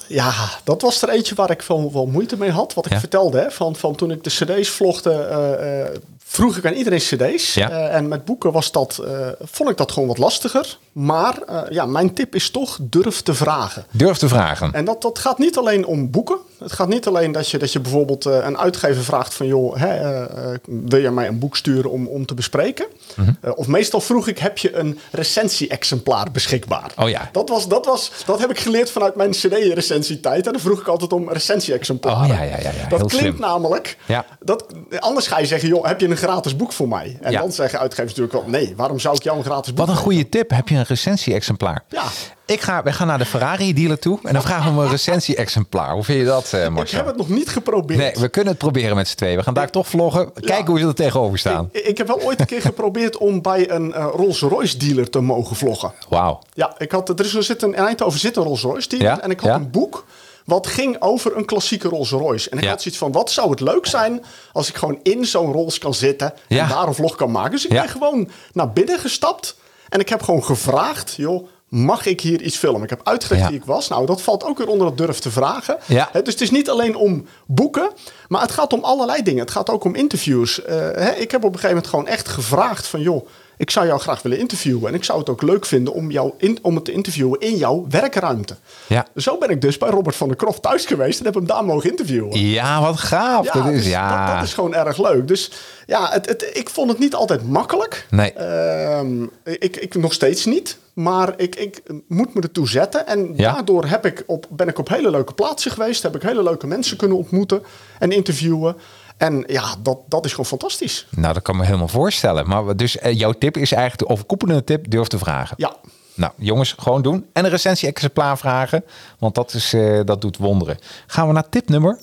C: Ja, dat was er eentje waar ik wel, wel moeite mee had. Wat ik
A: Ja.
C: vertelde, hè, van, van toen ik de cd's vlogde, eh, eh, vroeg ik aan iedereen cd's.
A: Ja.
C: Eh, en met boeken was dat, eh, vond ik dat gewoon wat lastiger. Maar eh, ja, mijn tip is toch durf te vragen.
A: Durf te vragen.
C: En dat, dat gaat niet alleen om boeken. Het gaat niet alleen dat je, dat je bijvoorbeeld eh, een uitgever vraagt van... joh, hè, eh, eh, wil je mij een boek sturen om, om te bespreken?
A: Mhm.
C: Eh, of meestal vroeg ik, heb je een recensie-exemplaar beschikbaar?
A: Oh ja.
C: Dat, was, dat, was, dat heb ik geleerd vanuit mijn cd-recensietijd. En dan vroeg ik altijd om recensie-exemplaren.
A: Oh ja, ja, ja, ja.
C: Dat
A: Heel
C: klinkt
A: slim.
C: namelijk...
A: Ja.
C: Dat, anders ga je zeggen, joh, heb je een gratis boek voor mij? En
A: Ja.
C: dan zeggen uitgevers natuurlijk wel... nee, waarom zou ik jou een gratis boek
A: Wat een
C: geven?
A: goede tip. Heb je een recensie-exemplaar?
C: Ja.
A: Ik ga, wij gaan naar de Ferrari-dealer toe en dan vragen we hem een recensie-exemplaar. Hoe vind je dat, eh
C: Ik
A: Marcel?
C: heb het nog niet geprobeerd.
A: Nee, we kunnen het proberen met z'n tweeën. We gaan daar toch vloggen. Kijken hoe ze er tegenover staan.
C: Ik, ik heb wel ooit een keer geprobeerd om bij een eh, Rolls-Royce dealer te mogen vloggen.
A: Wauw.
C: Ja, ik had, er is er zit een, in Eindhoven zit een Rolls-Royce dealer
A: Ja,
C: en ik had
A: ja.
C: een boek wat ging over een klassieke Rolls-Royce. En ik
A: Ja.
C: had zoiets van, wat zou het leuk zijn als ik gewoon in zo'n Rolls kan zitten
A: Ja.
C: en daar een vlog kan maken. Dus ik
A: Ja.
C: ben gewoon naar binnen gestapt en ik heb gewoon gevraagd, joh, mag ik hier iets filmen? Ik heb uitgelegd
A: Ja.
C: wie ik was. Nou, dat valt ook weer onder dat durf te vragen.
A: Ja.
C: Hè, dus het is niet alleen om boeken, maar het gaat om allerlei dingen. Het gaat ook om interviews. Eh, hè, ik heb op een gegeven moment gewoon echt gevraagd van... joh, ik zou jou graag willen interviewen. En ik zou het ook leuk vinden om, jou in, om het te interviewen in jouw werkruimte.
A: Ja.
C: Zo ben ik dus bij Robert van der Kroft thuis geweest... en heb hem daar mogen interviewen.
A: Ja, wat gaaf.
C: Ja,
A: dat is,
C: dus
A: ja.
C: Dat, dat is gewoon erg leuk. Dus ja, het, het, ik vond het niet altijd makkelijk.
A: Nee.
C: Ehm, ik, ik nog steeds niet. Maar ik, ik moet me ertoe zetten. En
A: Ja.
C: daardoor heb ik op, ben ik op hele leuke plaatsen geweest. Heb ik hele leuke mensen kunnen ontmoeten en interviewen. En ja, dat, dat is gewoon fantastisch.
A: Nou, dat kan me helemaal voorstellen. Maar we- dus eh, jouw tip is eigenlijk de overkoepelende tip. Durf te vragen.
C: Ja.
A: Nou, jongens, gewoon doen. En een recensie-exemplaar vragen. Want dat, is, eh, dat doet wonderen. Gaan we naar tip nummer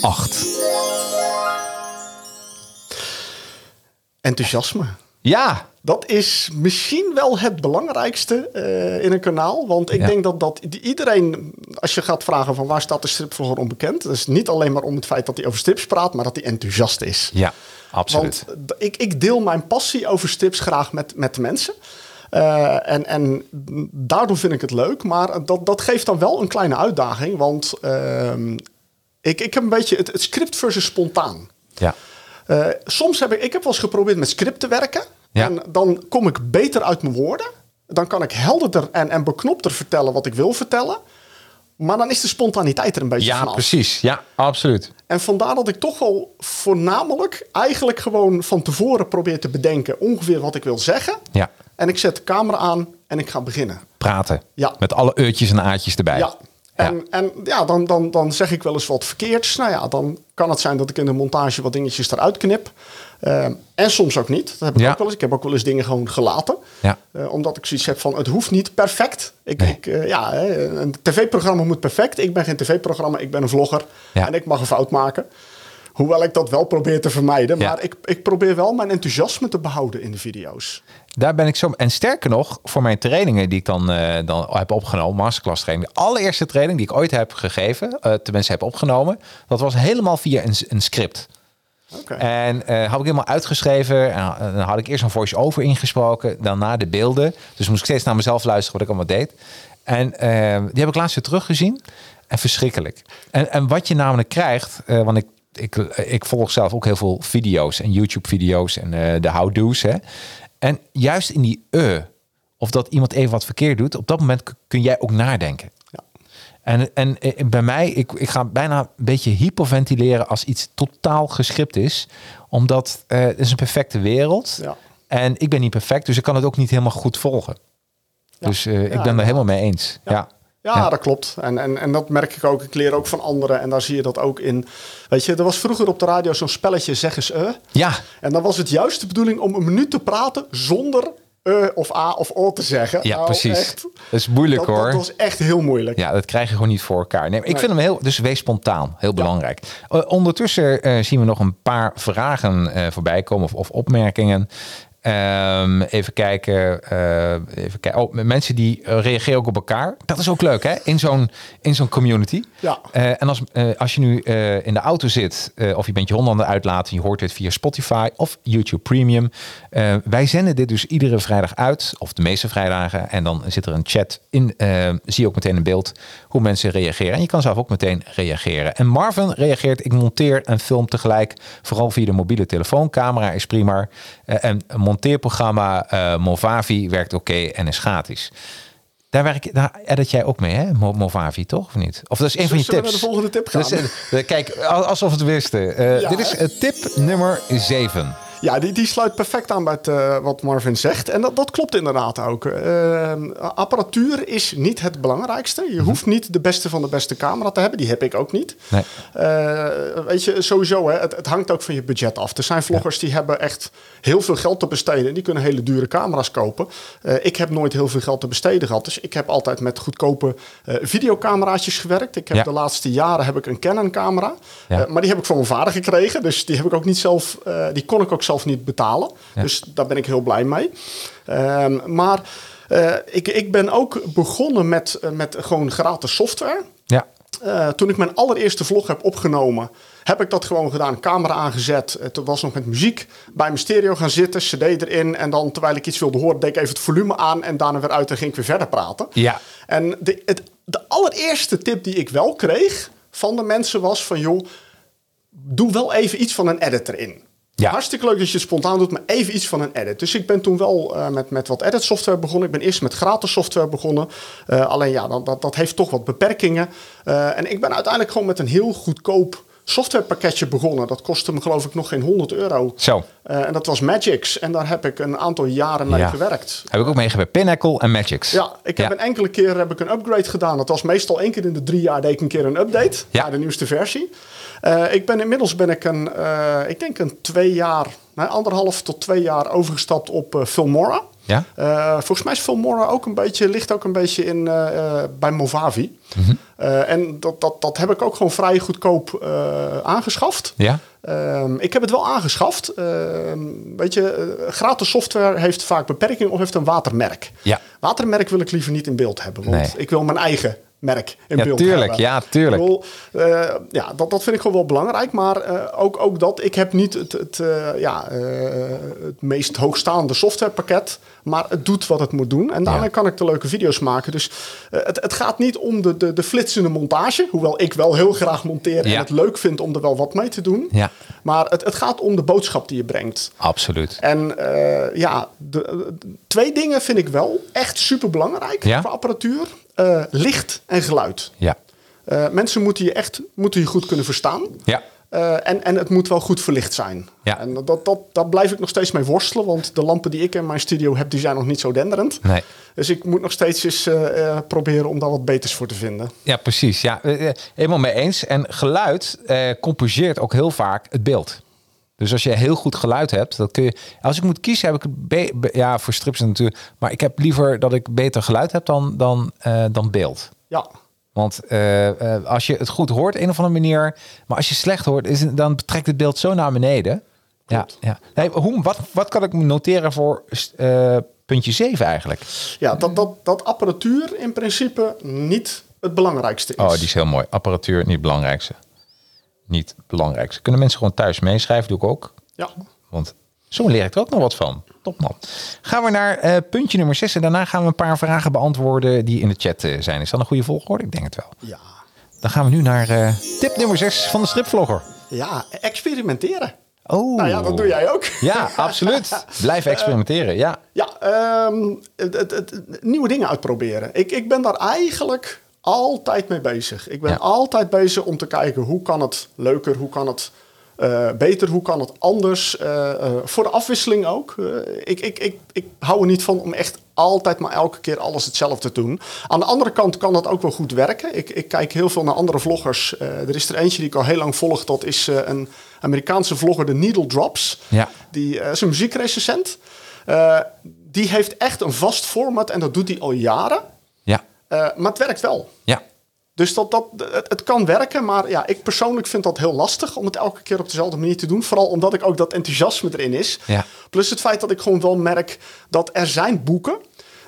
A: 8.
C: Enthousiasme.
A: Ja,
C: Dat is misschien wel het belangrijkste eh, in een kanaal. Want ik
A: Ja.
C: denk dat, dat iedereen, als je Als je gaat vragen van waar staat de stripvlogger onbekend, dat is niet alleen maar om het feit dat hij over strips praat, maar dat hij enthousiast is.
A: Ja, absoluut.
C: Want eh, d- ik, ik deel mijn passie over strips graag met, met de mensen. Eh, en, en daardoor vind ik het leuk. Maar dat, dat geeft dan wel een kleine uitdaging. Want ehm, ik, ik heb een beetje het, het script versus spontaan.
A: ja.
C: Eh, soms heb ik, ik heb wel eens geprobeerd met script te werken.
A: Ja.
C: En dan kom ik beter uit mijn woorden. Dan kan ik helderder en, en beknopter vertellen wat ik wil vertellen. Maar dan is de spontaniteit er een beetje
A: ja
C: vanaf.
A: precies. Ja, absoluut.
C: En vandaar dat ik toch wel voornamelijk eigenlijk gewoon van tevoren probeer te bedenken ongeveer wat ik wil zeggen.
A: Ja.
C: En ik zet de camera aan en ik ga beginnen.
A: Praten.
C: Ja.
A: Met alle eurtjes en aatjes erbij.
C: Ja. En
A: Ja.
C: ja, en, ja dan, dan, dan zeg ik wel eens wat verkeerds. Nou ja, dan kan het zijn dat ik in de montage wat dingetjes eruit knip. Ehm, en soms ook niet. Dat heb ik
A: Ja.
C: ook wel eens. Ik heb ook wel eens dingen gewoon gelaten.
A: Ja.
C: Eh, omdat ik zoiets heb van, het hoeft niet perfect. Ik,
A: Nee.
C: ik, eh, ja, hè, een tv-programma moet perfect. Ik ben geen tv-programma, ik ben een vlogger.
A: Ja.
C: En ik mag een fout maken. Hoewel ik dat wel probeer te vermijden.
A: Ja.
C: Maar ik, ik probeer wel mijn enthousiasme te behouden in de video's.
A: Daar ben ik zo. En sterker nog, voor mijn trainingen die ik dan, eh, dan heb opgenomen, masterclass training, de allereerste training die ik ooit heb gegeven, eh tenminste heb opgenomen, dat was helemaal via een, een script.
C: Oké.
A: En eh, had ik helemaal uitgeschreven. En, eh, dan had ik eerst een voice-over ingesproken. Daarna de beelden. Dus moest ik steeds naar mezelf luisteren wat ik allemaal deed. En eh, die heb ik laatst weer teruggezien. En verschrikkelijk. En, en wat je namelijk krijgt, eh, want ik, ik, ik volg zelf ook heel veel video's en YouTube-video's en eh, de how-do's. hè. En juist in die eh, of dat iemand even wat verkeerd doet, op dat moment k- kun jij ook nadenken. En, en eh, bij mij, ik, ik ga bijna een beetje hyperventileren als iets totaal gescript is. Omdat eh, het is een perfecte wereld.
C: Ja.
A: En ik ben niet perfect, dus ik kan het ook niet helemaal goed volgen. Dus eh, ik ben er
C: ja.
A: helemaal mee eens. Ja.
C: Ja, dat klopt. En, en, en dat merk ik ook. Ik leer ook van anderen. En daar zie je dat ook in. Weet je, er was vroeger op de radio zo'n spelletje Zeg eens eh.
A: Ja.
C: En dan was het juist de bedoeling om een minuut te praten zonder eh of a of o te zeggen.
A: Ja,
C: Nou,
A: precies.
C: echt,
A: Dat is moeilijk
C: dat,
A: hoor.
C: Dat was echt heel moeilijk.
A: Ja, dat krijg je gewoon niet voor elkaar. Nee, maar ik vind hem heel. Dus wees spontaan. Heel belangrijk. Eh, ondertussen eh, zien we nog een paar vragen eh, voorbij komen of, of opmerkingen. Ehm, even kijken. eh, even kijken. Oh, mensen die eh, reageren ook op elkaar. Dat is ook leuk, hè? In zo'n, in zo'n community.
C: Ja.
A: Eh, en als, eh, als je nu eh, in de auto zit, eh, of je bent je hond aan het uitlaten, je hoort dit via Spotify of YouTube Premium. Eh, wij zenden dit dus iedere vrijdag uit, of de meeste vrijdagen. En dan zit er een chat in. eh, zie je ook meteen in beeld hoe mensen reageren. En je kan zelf ook meteen reageren. En Marvin reageert: Ik monteer en film tegelijk, vooral via de mobiele telefoon. Camera is prima. Eh, en een monteerprogramma eh, Movavi werkt oké en is gratis. Daar, werk, daar edit jij ook mee, hè? Mo- Movavi, toch? Of niet? Of dat is een van je
C: Zullen
A: tips.
C: we naar de volgende tip gaan?
A: Dat is- eh, kijk, al- alsof we het wisten. Eh,
C: Ja,
A: dit is
C: hè?
A: eh, tip nummer 7.
C: Ja, die, die sluit perfect aan bij het, eh, wat Marvin zegt. En dat, dat klopt inderdaad ook. Ehm, apparatuur is niet het belangrijkste. Je hoeft niet de beste van de beste camera te hebben. Die heb ik ook niet.
A: Mhm. Nee.
C: Eh, weet je, sowieso, hè, het, het hangt ook van je budget af. Er zijn vloggers die hebben echt heel veel geld te besteden. En die kunnen hele dure camera's kopen. Eh, ik heb nooit heel veel geld te besteden gehad. Dus ik heb altijd met goedkope eh, videocameraatjes gewerkt. Ik heb
A: Ja.
C: de laatste jaren heb ik een Canon camera.
A: Ja.
C: Eh, maar die heb ik van mijn vader gekregen. Dus die heb ik ook niet zelf. eh, die kon ik ook zelf niet betalen. Dus daar ben ik heel blij mee. Ehm, maar eh, ik, ik ben ook begonnen met, eh, met gewoon gratis software.
A: Ja,
C: Eh, toen ik mijn allereerste vlog heb opgenomen, heb ik dat gewoon gedaan. Camera aangezet. Het was nog met muziek. Bij mijn stereo gaan zitten, cd erin. En dan terwijl ik iets wilde horen, deed ik even het volume aan. En daarna weer uit en ging ik weer verder praten.
A: Ja.
C: En de, het, de allereerste tip die ik wel kreeg van de mensen was van... joh, doe wel even iets van een edit erin.
A: Ja.
C: Hartstikke leuk dat je het spontaan doet, maar even iets van een edit. Dus ik ben toen wel eh, met, met wat edit software begonnen. Ik ben eerst met gratis software begonnen. Eh, alleen ja, dan, dat, dat heeft toch wat beperkingen. Eh, en ik ben uiteindelijk gewoon met een heel goedkoop softwarepakketje begonnen. Dat kostte me geloof ik nog geen 100 euro.
A: Zo.
C: Eh, en dat was Magix. En daar heb ik een aantal jaren mee
A: Ja.
C: gewerkt.
A: heb ik ook meegewerkt. Pinnacle en Magics.
C: Ja, ik heb
A: ja.
C: een enkele keer heb ik een upgrade gedaan. Dat was meestal één keer in de drie jaar deed ik een keer een update
A: Ja.
C: naar de nieuwste versie. Eh, ik ben inmiddels ben ik een, eh, ik denk een twee jaar, nou, anderhalf tot twee jaar overgestapt op eh, Filmora.
A: Ja.
C: Eh, volgens mij is Filmora ook een beetje, ligt ook een beetje in, eh, eh, bij Movavi.
A: Mhm.
C: Eh, en dat, dat, dat heb ik ook gewoon vrij goedkoop eh, aangeschaft.
A: Ja.
C: Ehm, ik heb het wel aangeschaft. Ehm, weet je, eh, gratis software heeft vaak beperkingen of heeft een watermerk.
A: Ja.
C: Watermerk wil ik liever niet in beeld hebben, want
A: Nee.
C: ik wil mijn eigen merk in
A: Ja,
C: beeld
A: tuurlijk.
C: hebben.
A: Ja, tuurlijk.
C: Ik bedoel, eh, ja, dat, dat vind ik gewoon wel belangrijk. Maar eh, ook, ook dat, ik heb niet het, het, eh, ja, eh, het meest hoogstaande softwarepakket. Maar het doet wat het moet doen. En daarmee
A: Ja.
C: kan ik de leuke video's maken. Dus eh, het, het gaat niet om de, de, de flitsende montage. Hoewel ik wel heel graag monteer
A: Ja.
C: en het leuk vind om er wel wat mee te doen.
A: Ja.
C: Maar het, het gaat om de boodschap die je brengt.
A: Absoluut.
C: En eh, ja, de, de- twee dingen vind ik wel echt super belangrijk
A: Ja?
C: voor apparatuur: Eh, licht en geluid.
A: Ja.
C: Eh, mensen moeten je echt moeten je goed kunnen verstaan.
A: Ja.
C: Eh, en, en het moet wel goed verlicht zijn.
A: Ja.
C: En dat, dat, daar blijf ik nog steeds mee worstelen. Want de lampen die ik in mijn studio heb, die zijn nog niet zo denderend.
A: Nee.
C: Dus ik moet nog steeds eens eh, eh, proberen om daar wat beters voor te vinden.
A: Ja, precies. Ja, eh, eh, helemaal mee eens. En geluid eh compenseert ook heel vaak het beeld. Dus als je heel goed geluid hebt, dat kun je. Als ik moet kiezen, heb ik het be- be- ja voor strips natuurlijk, maar ik heb liever dat ik beter geluid heb dan dan eh, dan beeld.
C: Ja,
A: Want eh, eh, als je het goed hoort, een of andere manier, maar als je slecht hoort, is, het- dan trekt het beeld zo naar beneden. Ja, ja. Nee, hoe, wat, wat kan ik noteren voor eh, puntje 7 eigenlijk?
C: ja dat, dat, dat apparatuur in principe niet het belangrijkste is.
A: Oh, die is heel mooi. Apparatuur, niet het belangrijkste. Niet het belangrijkste. Kunnen mensen gewoon thuis meeschrijven, doe ik ook.
C: Ja.
A: Want zo leer ik er ook nog wat van. Top man. Gaan we naar eh, puntje nummer 6 en daarna gaan we een paar vragen beantwoorden die in de chat eh, zijn. Is dat een goede volgorde? Ik denk het wel.
C: Ja.
A: Dan gaan we nu naar eh, tip nummer 6 van de stripvlogger.
C: ja, e-, experimenteren.
A: Oh.
C: Nou ja, dat doe jij ook.
A: Ja, absoluut. Blijf experimenteren. Ja,
C: Ja, ehm, het, het, het- nieuwe dingen uitproberen. Ik, ik ben daar eigenlijk altijd mee bezig. Ik ben
A: Ja.
C: altijd bezig om te kijken hoe kan het leuker, hoe kan het eh, beter, hoe kan het anders. Eh, eh, voor de afwisseling ook. Eh, ik, ik, ik, ik hou er niet van om echt altijd maar elke keer alles hetzelfde te doen. Aan de andere kant kan dat ook wel goed werken. Ik, ik kijk heel veel naar andere vloggers. Eh, er is er eentje die ik al heel lang volg. Dat is eh, een Amerikaanse vlogger, de Needle Drops.
A: Ja.
C: Die eh, is een muziekrecensent. Eh, die heeft echt een vast format en dat doet hij al jaren.
A: ja,
C: Eh, maar het werkt wel.
A: ja.
C: Dus dat, dat, het, het kan werken, maar ja, ik persoonlijk vind dat heel lastig om het elke keer op dezelfde manier te doen. Vooral omdat ik ook dat enthousiasme erin is.
A: Ja.
C: Plus het feit dat ik gewoon wel merk dat er zijn boeken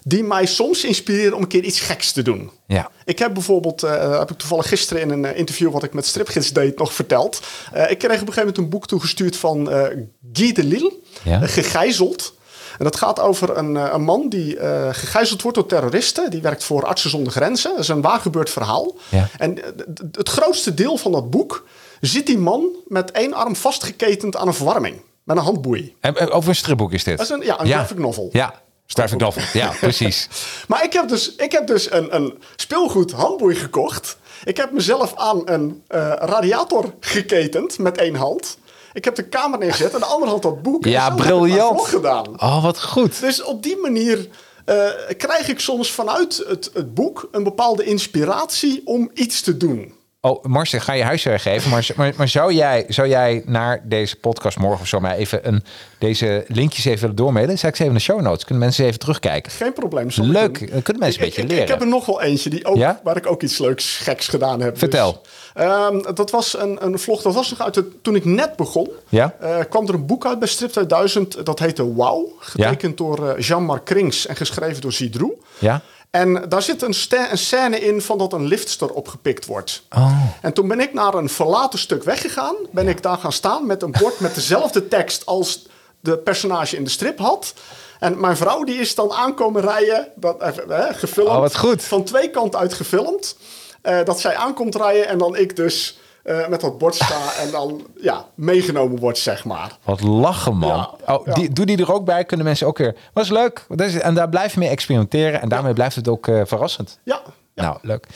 C: die mij soms inspireren om een keer iets geks te doen.
A: Ja.
C: Ik heb bijvoorbeeld, eh, heb ik toevallig gisteren in een eh, interview wat ik met Stripgids deed nog verteld. Eh, ik kreeg op een gegeven moment een boek toegestuurd van eh Guy de Lille,
A: Ja.
C: eh, Gegijzeld. En dat gaat over een, eh, een man die eh, gegijzeld wordt door terroristen. Die werkt voor Artsen zonder Grenzen. Dat is een waargebeurd verhaal.
A: Ja.
C: En eh, d- d- het grootste deel van dat boek zit die man met één arm vastgeketend aan een verwarming. Met een handboei.
A: En, eh, Over een stripboek is dit.
C: Dat is een- ja, een graphic novel.
A: Ja, graphic novel. Ja, precies.
C: Maar ik heb dus, ik heb dus een, een speelgoed handboei gekocht. Ik heb mezelf aan een eh, radiator geketend met één hand. Ik heb de kamer neergezet en de andere hand dat boek. En zo
A: Ja,
C: heb ik mijn
A: briljant.
C: vlog gedaan.
A: Oh, wat goed.
C: Dus op die manier eh, krijg ik soms vanuit het, het boek een bepaalde inspiratie om iets te doen.
A: Oh, Marcel, ga je huiswerk geven. Maar, maar, maar zou, jij, zou jij naar deze podcast morgen of zo maar even een, deze linkjes even willen doormailen? Zet ik ze even in de show notes. Kunnen mensen even terugkijken?
C: Geen probleem. zal ik
A: Leuk.
C: doen.
A: Dan kunnen mensen een
C: Ik-
A: beetje
C: ik,
A: leren.
C: Ik heb er nog wel eentje die ook,
A: Ja?
C: waar ik ook iets leuks geks gedaan heb.
A: Vertel.
C: Dus, ehm, dat was een, een vlog, dat was nog uit de, toen ik net begon.
A: Ja?
C: eh, kwam er een boek uit bij Strip 2000, dat heette Wow. Getekend door eh, Jean-Marc Krings en geschreven door Zidroe.
A: Ja?
C: En daar zit een, sta- een scène in van dat een liftster opgepikt wordt.
A: Oh.
C: En toen ben ik naar een verlaten stuk weggegaan. Ben ik daar gaan staan met een bord met dezelfde tekst als de personage in de strip had. En mijn vrouw die is dan aankomen rijden, dat, even, hè, gefilmd.
A: Oh, wat goed.
C: Van twee kanten uit gefilmd. Eh, dat zij aankomt rijden en dan ik dus eh, met dat bord sta en dan ja, meegenomen wordt, zeg maar.
A: Wat lachen, man.
C: Ja,
A: oh,
C: ja.
A: Die, doe die er ook bij. Kunnen mensen ook weer. Was leuk. Dat is- En daar blijf je mee experimenteren. En daarmee blijft het ook eh, verrassend.
C: Ja, ja.
A: Nou, leuk.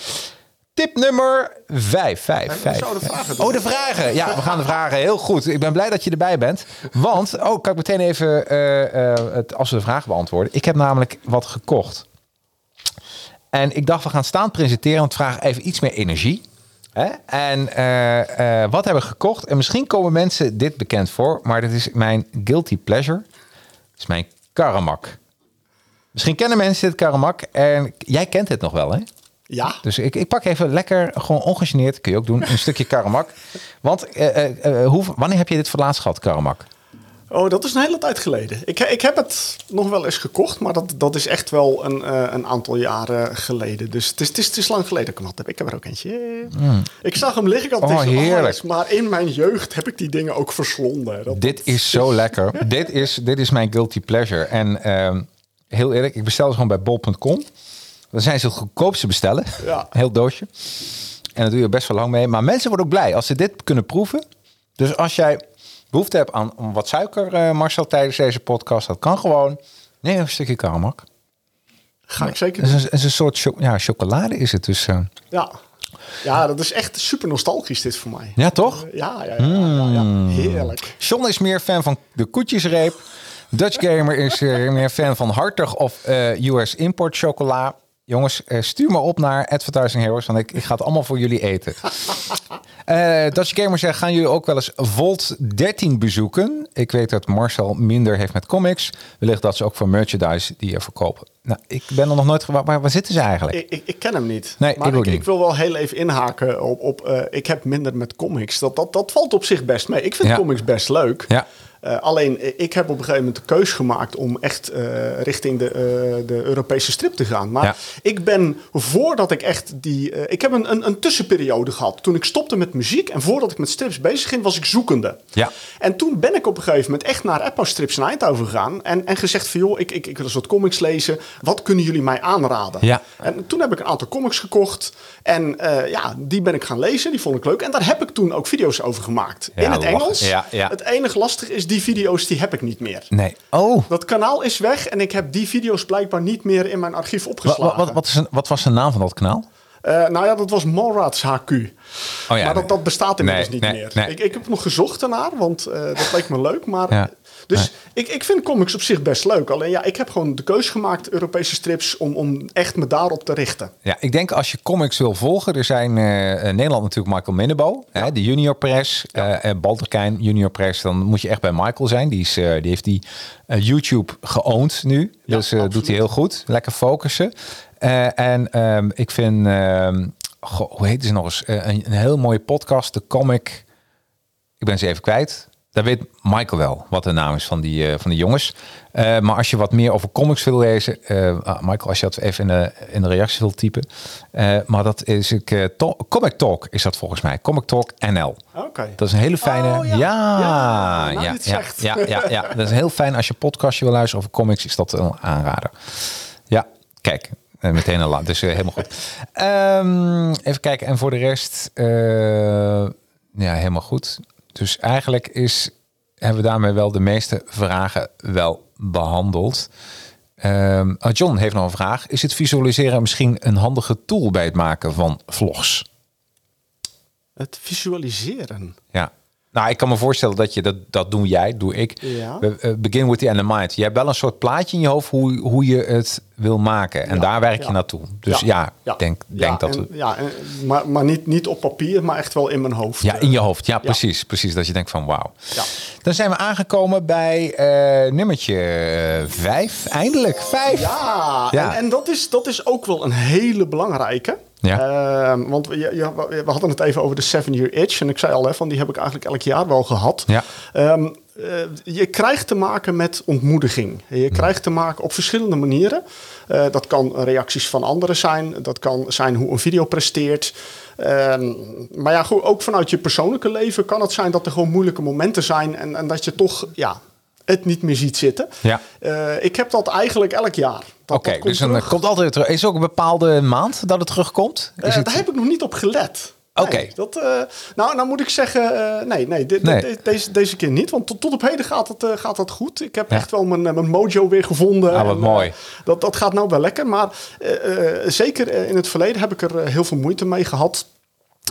A: Tip nummer 5.
C: we
A: 5, 5.
C: zouden vragen doen.
A: Oh, de vragen. Ja, we gaan de vragen. Heel goed. Ik ben blij dat je erbij bent. Want, oh, kan ik meteen even, eh, eh, het, als we de vragen beantwoorden. Ik heb namelijk wat gekocht. En ik dacht, we gaan staan presenteren. Want het vraagt even iets meer energie. Hè? En eh, eh, wat hebben we gekocht? En misschien komen mensen dit bekend voor. Maar dit is mijn guilty pleasure. Dat is mijn karamak. Misschien kennen mensen dit karamak. En jij kent het nog wel, hè?
C: ja.
A: Dus ik, ik pak even lekker, gewoon ongegeneerd, kun je ook doen, een stukje karamak. Want eh, eh, eh, hoe, wanneer heb je dit voor het laatst gehad, karamak?
C: Oh, dat is een hele tijd geleden. Ik, ik heb het nog wel eens gekocht, maar dat, dat is echt wel een, eh, een aantal jaren geleden. Dus het is, het, is, het is lang geleden dat ik hem had. Ik heb er ook eentje. Ik zag hem liggen. Ik had
A: Mm. Oh,
C: deze,
A: heerlijk.
C: dat is- maar in mijn jeugd heb ik die dingen ook verslonden. Dat,
A: Dit is zo lekker. dit, is, dit is mijn guilty pleasure. En ehm, heel eerlijk, ik bestel ze gewoon bij bol.com. Dan zijn ze het goedkoopste bestellen.
C: Ja.
A: Een Heel doosje. En daar doe je best wel lang mee. Maar mensen worden ook blij als ze dit kunnen proeven. Dus als jij behoefte hebt aan om wat suiker, eh, Marcel, tijdens deze podcast, dat kan gewoon. Neem een stukje karamak.
C: ga ik zeker
A: Het is een, het is een soort cho- ja, chocolade is het dus. eh.
C: Ja. ja, dat is echt super nostalgisch dit voor mij.
A: ja, Mm. toch?
C: Ja, ja, ja, ja, ja, ja. heerlijk.
A: John is meer fan van de koetjesreep. Dutch Gamer is eh, meer fan van hartig of eh, US import chocola. Jongens, eh, stuur me op naar Advertising Heroes, want ik, ik ga het allemaal voor jullie eten. Eh, Dutch Gamer zegt, gaan jullie ook wel eens Volt 13 bezoeken? Ik weet dat Marcel minder heeft met comics. Wellicht dat ze ook voor merchandise die je verkopen. Nou, ik ben er nog nooit... gewa- Waar, waar zitten ze eigenlijk?
C: Ik, ik, ik ken hem niet.
A: Nee,
C: maar
A: ik ook
C: ik,
A: niet.
C: wil wel heel even inhaken op, op eh, ik heb minder met comics. Dat, dat, dat valt op zich best mee. Ik vind
A: Ja.
C: comics best leuk.
A: Ja.
C: Eh, alleen, eh, ik heb op een gegeven moment de keus gemaakt om echt eh, richting de, eh, de Europese strip te gaan. Maar
A: Ja.
C: ik ben, voordat ik echt die... eh, ik heb een, een, een tussenperiode gehad. Toen ik stopte met muziek en voordat ik met strips bezig ging, was ik zoekende.
A: Ja.
C: En toen ben ik op een gegeven moment echt naar Apple Strips en Eindhoven gegaan. En, en gezegd van, joh, ik, ik, ik wil een soort comics lezen. Wat kunnen jullie mij aanraden?
A: Ja.
C: En toen heb ik een aantal comics gekocht. En eh, ja, die ben ik gaan lezen. Die vond ik leuk. En daar heb ik toen ook video's over gemaakt.
A: Ja,
C: in het
A: lachen.
C: Engels.
A: Ja, ja.
C: Het enige lastige is, die video's die heb ik niet meer.
A: Nee. Oh,
C: Dat kanaal is weg en ik heb die video's blijkbaar niet meer in mijn archief
A: wat,
C: opgeslagen.
A: wat, wat, is een- wat was de naam van dat kanaal?
C: Eh, nou ja, dat was Morats HQ.
A: Oh ja,
C: maar dat, dat bestaat inmiddels
A: Nee,
C: niet
A: nee,
C: meer.
A: nee.
C: Ik, ik heb nog gezocht daarnaar, want eh, dat leek me leuk. Maar,
A: Ja.
C: Dus ik, ik vind comics op zich best leuk. Alleen ja, ik heb gewoon de keus gemaakt, Europese strips, om, om echt me daarop te richten.
A: Ja, ik denk als je comics wil volgen, er zijn eh, in Nederland natuurlijk Michael Minnebo, hè, de Junior Press, eh en Balterkijn Junior Press. Dan moet je echt bij Michael zijn. Die, is, eh, die heeft die eh, YouTube geowned nu,
C: Ja,
A: dus eh, doet
C: absoluut.
A: hij heel goed. Lekker focussen. Eh, en ehm, ik vind, ehm, goh, hoe heet ze nog eens? Eh, een, een heel mooie podcast, de Comic. Ik ben ze even kwijt. Daar weet Michael wel wat de naam is van die, eh, van die jongens. Eh, maar als je wat meer over comics wil lezen, eh, ah, Michael, als je dat even in de, in de reactie wilt typen. Eh, maar dat is ik, eh, to- Comic Talk is dat volgens mij. Comic Talk NL.
C: Oké.
A: Dat is een hele fijne.
C: Oh,
A: ja, ja,
C: ja. Ja,
A: ja,
C: nou,
A: ja,
C: dit
A: ja,
C: zegt.
A: ja, ja. Dat is heel fijn als je een podcastje wil luisteren over comics, is dat een aanrader. Ja, kijk, eh, meteen een laat, dus eh, helemaal goed. Ehm, even kijken, en voor de rest, eh, ja, helemaal goed. Dus eigenlijk is, hebben we daarmee wel de meeste vragen wel behandeld. Ehm, ah, John heeft nog een vraag. Is het visualiseren misschien een handige tool bij het maken van vlogs?
C: Het visualiseren.
A: Ja. Nou, ik kan me voorstellen dat je dat, dat doen jij, doe ik.
C: Ja.
A: We- eh, Begin with the end in mind. Je hebt wel een soort plaatje in je hoofd hoe, hoe je het wil maken. En daar werk je
C: ja.
A: naartoe. Dus ja,
C: ja.
A: denk,
C: Ja,
A: denk dat.
C: en-
A: we-
C: ja, en- maar maar niet, niet op papier, maar echt wel in mijn hoofd.
A: ja,
C: Eh,
A: in je hoofd. Ja, precies. Precies. Dat je denkt van wauw.
C: Ja.
A: Dan zijn we aangekomen bij eh nummertje eh, vijf. Eindelijk vijf.
C: Ja,
A: Ja.
C: en, en dat, is, dat is ook wel een hele belangrijke.
A: Ja.
C: Ehm, want we, ja, ja, we we hadden het even over de Seven Year Itch. En ik zei al, hè, van die heb ik eigenlijk elk jaar wel gehad.
A: Ja.
C: Ehm, eh, je krijgt te maken met ontmoediging.
A: Hmm.
C: Je krijgt te maken op verschillende manieren. Eh, dat kan reacties van anderen zijn. Dat kan zijn hoe een video presteert. Ehm, maar ja, goed, ook vanuit je persoonlijke leven kan het zijn dat er gewoon moeilijke momenten zijn. En, en dat je toch ja, het niet meer ziet zitten.
A: Ja.
C: Eh, ik heb dat eigenlijk elk jaar. Dat-
A: Oké,
C: dat komt
A: dus dan
C: terug.
A: komt altijd terug. Is er ook een bepaalde maand dat het terugkomt? Is
C: Eh,
A: het-
C: Daar heb ik nog niet op gelet.
A: Oké.
C: Nee, dat, eh, nou, nou moet ik zeggen, eh, nee, nee, dit-
A: Nee.
C: dit- deze, deze keer niet. Want tot, tot op heden gaat het, eh, gaat dat goed. Ik heb
A: Ja.
C: echt wel mijn, eh, mijn mojo weer gevonden.
A: Ah, wat
C: eh,
A: mooi.
C: dat, dat gaat nou wel lekker. Maar eh, eh, zeker eh, in het verleden heb ik er eh, heel veel moeite mee gehad.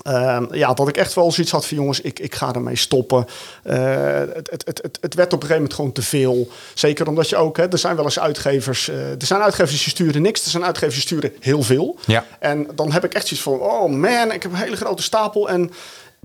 C: Ehm, ja, dat ik echt wel zoiets had van jongens, ik, ik ga ermee stoppen. Eh, het, het, het, het, het werd op een gegeven moment gewoon te veel. Zeker omdat je ook, hè, er zijn wel eens uitgevers. eh, er zijn uitgevers die sturen niks, er zijn uitgevers die sturen heel veel.
A: Ja.
C: En dan heb ik echt zoiets van, oh man, ik heb een hele grote stapel. En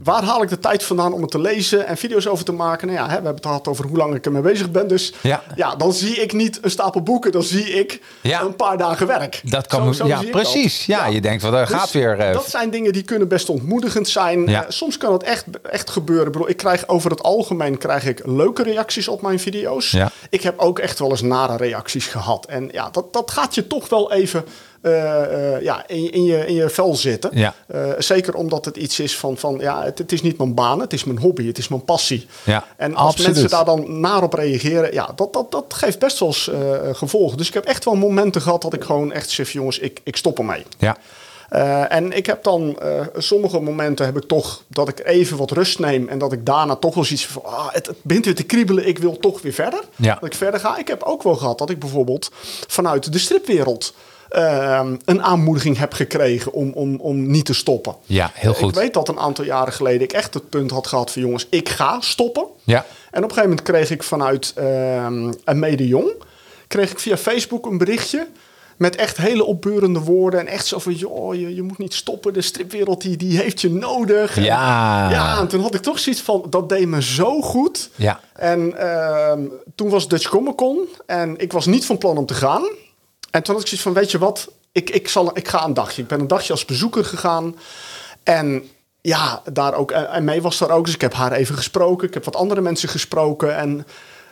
C: waar haal ik de tijd vandaan om het te lezen en video's over te maken? Nou ja, hè, we hebben het gehad over hoe lang ik ermee bezig ben. Dus
A: Ja.
C: ja. dan zie ik niet een stapel boeken, dan zie ik
A: Ja.
C: een paar dagen werk.
A: Dat kan,
C: Zo- zo
A: ja,
C: zie ik dat.
A: precies. Ja, je denkt, wel, daar
C: Dus
A: gaat weer. eh,
C: dat zijn dingen die kunnen best ontmoedigend zijn.
A: Ja.
C: Eh, soms kan dat echt, echt gebeuren. Ik, bedoel, ik krijg over het algemeen krijg ik leuke reacties op mijn video's.
A: Ja.
C: Ik heb ook echt wel eens nare reacties gehad. En ja, dat, dat gaat je toch wel even eh, eh, ja, in, je- in, je, in je vel zitten.
A: Ja.
C: Eh, zeker omdat het iets is van, van ja, het, het is niet mijn baan, het is mijn hobby, het is mijn passie.
A: Ja,
C: en als
A: absoluut.
C: mensen daar dan naar op reageren, ja, dat, dat, dat geeft best wel eens eh, gevolgen. Dus ik heb echt wel momenten gehad dat ik gewoon echt zeg, jongens, ik, ik stop ermee.
A: ja,
C: Eh, en ik heb dan eh, sommige momenten heb ik toch dat ik even wat rust neem en dat ik daarna toch wel zoiets van, ah, het, het begint weer te kriebelen, ik wil toch weer verder.
A: Ja.
C: Dat ik verder ga. Ik heb ook wel gehad dat ik bijvoorbeeld vanuit de stripwereld ehm, een aanmoediging heb gekregen om, om, om niet te stoppen.
A: ja, heel
C: Ik
A: goed.
C: weet dat een aantal jaren geleden ik echt het punt had gehad van jongens, ik ga stoppen.
A: Ja.
C: En op een gegeven moment kreeg ik vanuit ehm een mede jong, kreeg ik via Facebook een berichtje met echt hele opbeurende woorden en echt zo van joh, je, je moet niet stoppen, de stripwereld die, die heeft je nodig. En-
A: Ja.
C: ja, en toen had ik toch zoiets van dat deed me zo goed.
A: Ah. Ja.
C: En ehm, toen was Dutch Comic Con en ik was niet van plan om te gaan. En toen had ik zoiets van, weet je wat, ik, ik, zal, ik ga een dagje. Ik ben een dagje als bezoeker gegaan. En ja, daar ook, en en mee was daar ook. Dus ik heb haar even gesproken. Ik heb wat andere mensen gesproken. En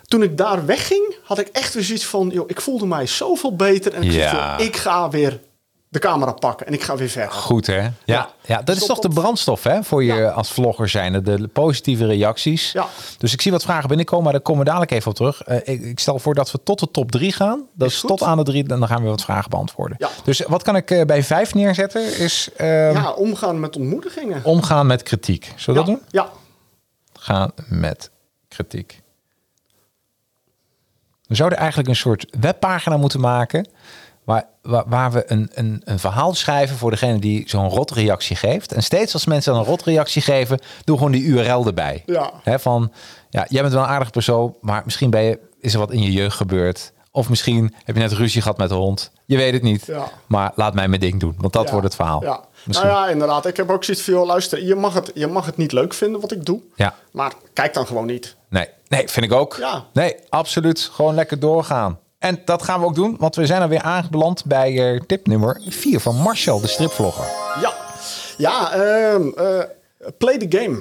C: toen ik daar wegging, had ik echt weer zoiets van, joh, ik voelde mij zoveel beter. En ik,
A: Ja.
C: zei, joh, ik ga weer de camera pakken en ik ga weer verder.
A: Goed hè? Ja, ja.
C: Ja.
A: dat is
C: Dus
A: toch
C: dat-
A: de brandstof hè? voor je
C: Ja.
A: als vlogger zijn. De positieve reacties.
C: Ja.
A: Dus ik zie wat vragen binnenkomen, maar daar komen we dadelijk even op terug. Eh, ik, ik stel voor dat we tot de top 3 gaan. Dat is,
C: goed.
A: tot aan de drie, en dan gaan we wat vragen beantwoorden.
C: Ja.
A: Dus wat kan ik eh, bij 5 neerzetten? Is ehm,
C: Ja, omgaan met ontmoedigingen.
A: omgaan met kritiek. Zullen we
C: ja,
A: dat doen?
C: ja,
A: Gaan met kritiek. We zouden eigenlijk een soort webpagina moeten maken. Waar, waar, waar we een, een, een verhaal schrijven voor degene die zo'n rotreactie geeft. En steeds als mensen dan een rotreactie geven, doe gewoon die URL erbij.
C: Ja.
A: Hè, van, ja, jij bent wel een aardig persoon, maar misschien ben je, is er wat in je jeugd gebeurd. Of misschien heb je net ruzie gehad met de hond. Je weet het niet.
C: Ja.
A: Maar laat mij mijn ding doen, want dat
C: Ja,
A: wordt het verhaal.
C: Ja. Nou
A: Misschien.
C: ja, inderdaad. Ik heb ook zoiets van, joh, luister, je mag, het, je mag het niet leuk vinden wat ik doe.
A: Ja.
C: Maar kijk dan gewoon niet.
A: Nee, nee, vind ik ook.
C: Ja.
A: Nee, absoluut. Gewoon lekker doorgaan. En dat gaan we ook doen, want we zijn alweer aangebeland bij eh, tip nummer 4 van Marcel, de stripvlogger.
C: Ja, ja ehm, eh, play the game.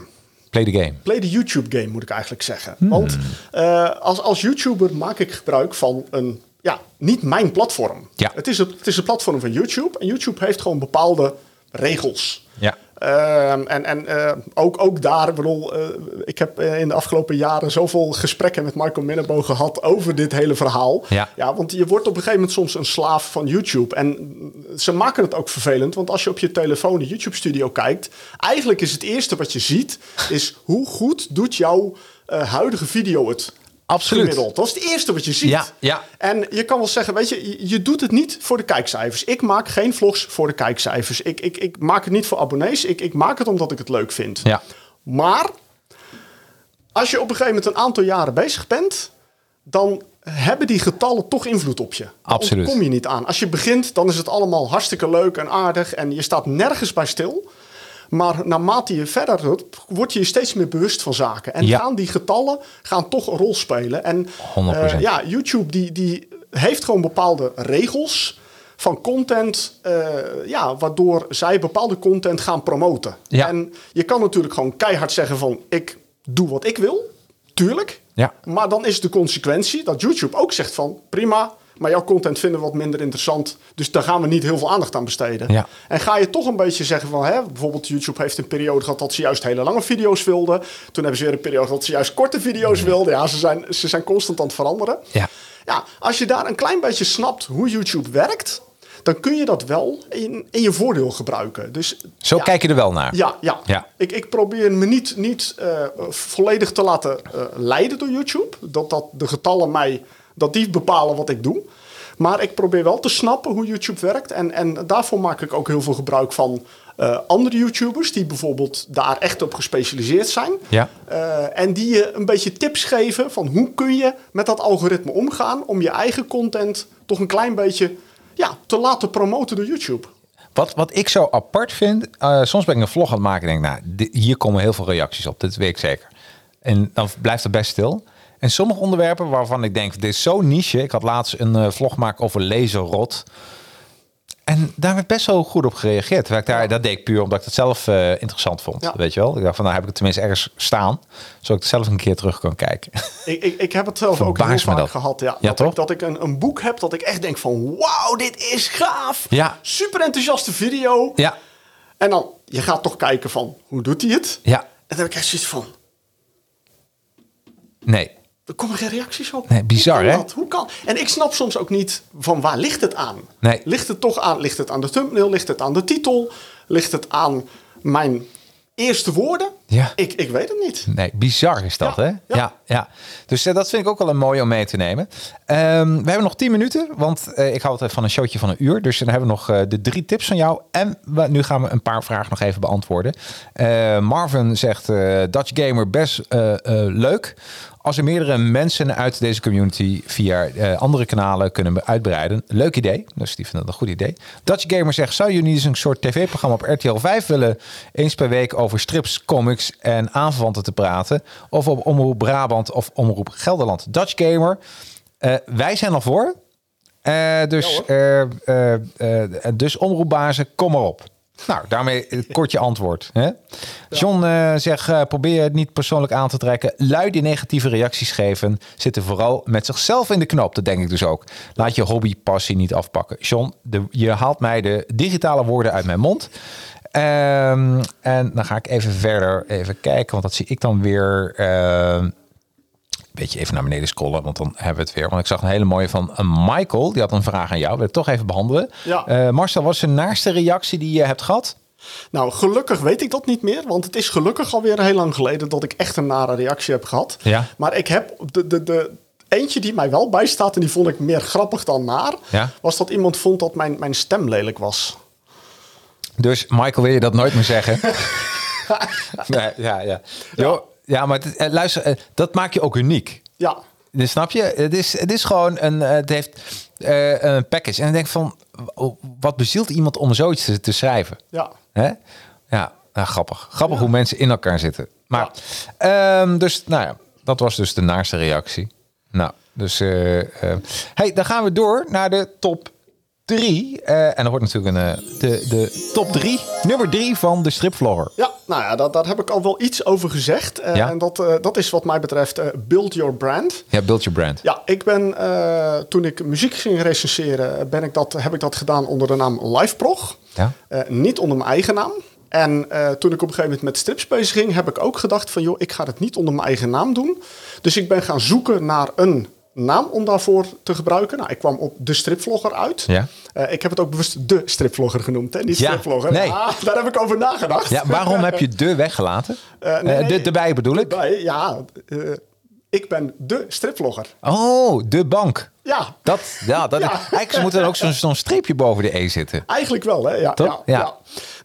A: Play the game.
C: Play the YouTube game, moet ik eigenlijk zeggen.
A: Hmm.
C: Want eh, als, als YouTuber maak ik gebruik van een... Ja, niet mijn platform.
A: Ja.
C: Het, is het, het is het platform van YouTube. En YouTube heeft gewoon bepaalde regels.
A: Ja.
C: Ehm, en en eh, ook, ook daar, ik bedoel, eh, ik heb eh, in de afgelopen jaren zoveel gesprekken met Michael Minnebo gehad over dit hele verhaal.
A: Ja.
C: want je wordt op een gegeven moment soms een slaaf van YouTube. En mm, ze maken het ook vervelend, want als je op je telefoon de YouTube-studio kijkt, eigenlijk is het eerste wat je ziet, is hoe goed doet jouw eh, huidige video het?
A: Absoluut.
C: Gemiddeld. Dat is het eerste wat je ziet.
A: Ja, ja.
C: En je kan wel zeggen, weet je, je- je doet het niet voor de kijkcijfers. Ik maak geen vlogs voor de kijkcijfers. Ik, ik, ik maak het niet voor abonnees. Ik, ik maak het omdat ik het leuk vind.
A: Ja.
C: Maar als je op een gegeven moment een aantal jaren bezig bent, dan hebben die getallen toch invloed op je. Daar
A: Absoluut.
C: ontkom je niet aan. Als je begint, dan is het allemaal hartstikke leuk en aardig en je staat nergens bij stil. Maar naarmate je verder doet, word je je steeds meer bewust van zaken. En
A: Ja.
C: gaan die getallen gaan toch een rol spelen. En
A: 100%.
C: eh, ja, YouTube die, die heeft gewoon bepaalde regels van content, eh, ja, waardoor zij bepaalde content gaan promoten.
A: Ja.
C: En je kan natuurlijk gewoon keihard zeggen van ik doe wat ik wil, tuurlijk.
A: Ja.
C: Maar dan is de consequentie dat YouTube ook zegt van prima, maar jouw content vinden we wat minder interessant, dus daar gaan we niet heel veel aandacht aan besteden.
A: Ja.
C: En ga je toch een beetje zeggen van, hè, bijvoorbeeld YouTube heeft een periode gehad dat ze juist hele lange video's wilden. Toen hebben ze weer een periode dat ze juist korte video's wilden. Ja, ze zijn, ze zijn constant aan het veranderen.
A: Ja.
C: Ja, als je daar een klein beetje snapt hoe YouTube werkt, dan kun je dat wel in, in je voordeel gebruiken. Dus
A: Zo
C: ja,
A: kijk je er wel naar.
C: ja, ja.
A: Ja.
C: Ik, ik probeer me niet, niet eh, volledig te laten eh, leiden door YouTube. Dat, dat de getallen mij, dat die bepalen wat ik doe. Maar ik probeer wel te snappen hoe YouTube werkt. En, en daarvoor maak ik ook heel veel gebruik van eh, andere YouTubers... die bijvoorbeeld daar echt op gespecialiseerd zijn.
A: Ja.
C: Eh, en die je een beetje tips geven van hoe kun je met dat algoritme omgaan... om je eigen content toch een klein beetje ja, te laten promoten door YouTube.
A: Wat, wat ik zo apart vind, eh, soms ben ik een vlog aan het maken en denk, nou, di- hier komen heel veel reacties op, dit weet ik zeker. En dan blijft het best stil. En sommige onderwerpen waarvan ik denk, dit is zo niche. Ik had laatst een eh, vlog gemaakt over laserrot. En daar werd best wel goed op gereageerd. Terwijl ik daar, Dat deed ik puur omdat ik het zelf eh, interessant vond.
C: Ja.
A: Weet je wel? Ik dacht van, nou heb ik het tenminste ergens staan. Zodat ik het zelf een keer terug kan kijken.
C: Ik, ik, ik heb het zelf ook
A: Verbaas
C: heel
A: me
C: vaak
A: dat.
C: gehad. Ja,
A: Ja,
C: dat,
A: toch?
C: Ik, dat ik een, een boek heb dat ik echt denk van... Wauw, dit is gaaf.
A: Ja.
C: Super enthousiaste video.
A: ja,
C: En dan, je gaat toch kijken van... Hoe doet hij het?
A: ja,
C: En dan heb ik echt zoiets van...
A: nee.
C: Er komen geen reacties op.
A: Nee, bizar,
C: Hoe kan
A: hè?
C: dat? Hoe kan? En ik snap soms ook niet van waar ligt het aan?
A: Nee.
C: Ligt het toch aan? Ligt het aan de thumbnail? Ligt het aan de titel? Ligt het aan mijn eerste woorden?
A: Ja.
C: Ik, ik weet het niet.
A: Nee, bizar is dat,
C: Ja,
A: hè? Ja,
C: ja.
A: ja. Dus eh, dat vind ik ook wel een mooie om mee te nemen. Ehm, we hebben nog 10 minuten, want eh, ik hou altijd van een showtje van een uur. Dus dan hebben we nog eh, de drie tips van jou. En we- nu gaan we een paar vragen nog even beantwoorden. Eh, Marvin zegt, eh, Dutch Gamer, best eh, eh, leuk. Als er meerdere mensen uit deze community via eh, andere kanalen kunnen we uitbreiden. Leuk idee. Dus die vinden dat een goed idee. Dutch Gamer zegt, zou jullie eens een soort tv-programma op RTL 5 willen? Eens per week over strips, comics en aanverwanten te praten. Of op Omroep Brabant of Omroep Gelderland. Dutch Gamer, eh, wij zijn al voor. Eh, dus, eh, eh, eh, dus omroepbazen, kom maar op. Nou, daarmee eh, kort je antwoord. Hè? John eh, zegt, eh, probeer het niet persoonlijk aan te trekken. Lui die negatieve reacties geven, zitten vooral met zichzelf in de knoop. Dat denk ik dus ook. Laat je hobby passie niet afpakken. John, de, je haalt mij de digitale woorden uit mijn mond. Ehm, en dan ga ik even verder even kijken, want dat zie ik dan weer... ehm, beetje even naar beneden scrollen, want dan hebben we het weer. Want ik zag een hele mooie van een Michael. Die had een vraag aan jou. Wil ik toch even behandelen.
C: Ja.
A: Eh, Marcel, wat is de naaste reactie die je hebt gehad?
C: Nou, gelukkig weet ik dat niet meer. Want het is gelukkig alweer heel lang geleden dat ik echt een nare reactie heb gehad.
A: Ja.
C: Maar ik heb de, de, de eentje die mij wel bijstaat en die vond ik meer grappig dan naar.
A: Ja.
C: Was dat iemand vond dat mijn, mijn stem lelijk was.
A: Dus Michael, wil je dat nooit meer zeggen? nee, ja, ja. Jo, ja, maar het- eh, luister, eh, dat maakt je ook uniek.
C: Ja.
A: Dus snap je? Het is, het is gewoon een, eh, het heeft eh, een package. En ik denk van, w- wat bezielt iemand om zoiets te, te schrijven?
C: Ja.
A: Hè? Ja, nou, grappig. Grappig hoe mensen in elkaar zitten. Maar, ehm, dus, nou ja, dat was dus de naaste reactie. Nou, dus, eh, eh. hey, dan gaan we door naar de top drie. Eh, en er hoort natuurlijk een, eh, de, de top drie, nummer drie van de stripvlogger.
C: Ja, nou ja, daar, daar heb ik al wel iets over gezegd. Eh,
A: Ja.
C: En dat, eh, dat is wat mij betreft eh, Build Your Brand.
A: Ja, Build Your Brand.
C: Ja, ik ben eh, toen ik muziek ging recenseren, ben ik dat, heb ik dat gedaan onder de naam LiveProg.
A: Ja.
C: Eh, niet onder mijn eigen naam. En eh, toen ik op een gegeven moment met strips bezig ging, heb ik ook gedacht van joh, ik ga het niet onder mijn eigen naam doen. Dus ik ben gaan zoeken naar een naam om daarvoor te gebruiken. Nou, ik kwam op de stripvlogger uit.
A: Ja.
C: Eh, ik heb het ook bewust de stripvlogger genoemd, hè? niet
A: Ja,
C: stripvlogger.
A: nee.
C: Ah, daar heb ik over nagedacht.
A: Ja, waarom heb je de weggelaten?
C: Eh, nee,
A: Eh, de,
C: nee.
A: de bij bedoel ik.
C: Bij- ja, eh, ik ben de stripvlogger.
A: Oh, de bank.
C: Ja,
A: Dat, ja, dat,
C: Ja.
A: Eigenlijk moet er ook zo'n zo'n streepje boven de E zitten.
C: Eigenlijk wel, hè? Ja.
A: Toch?
C: ja,
A: Ja.
C: ja.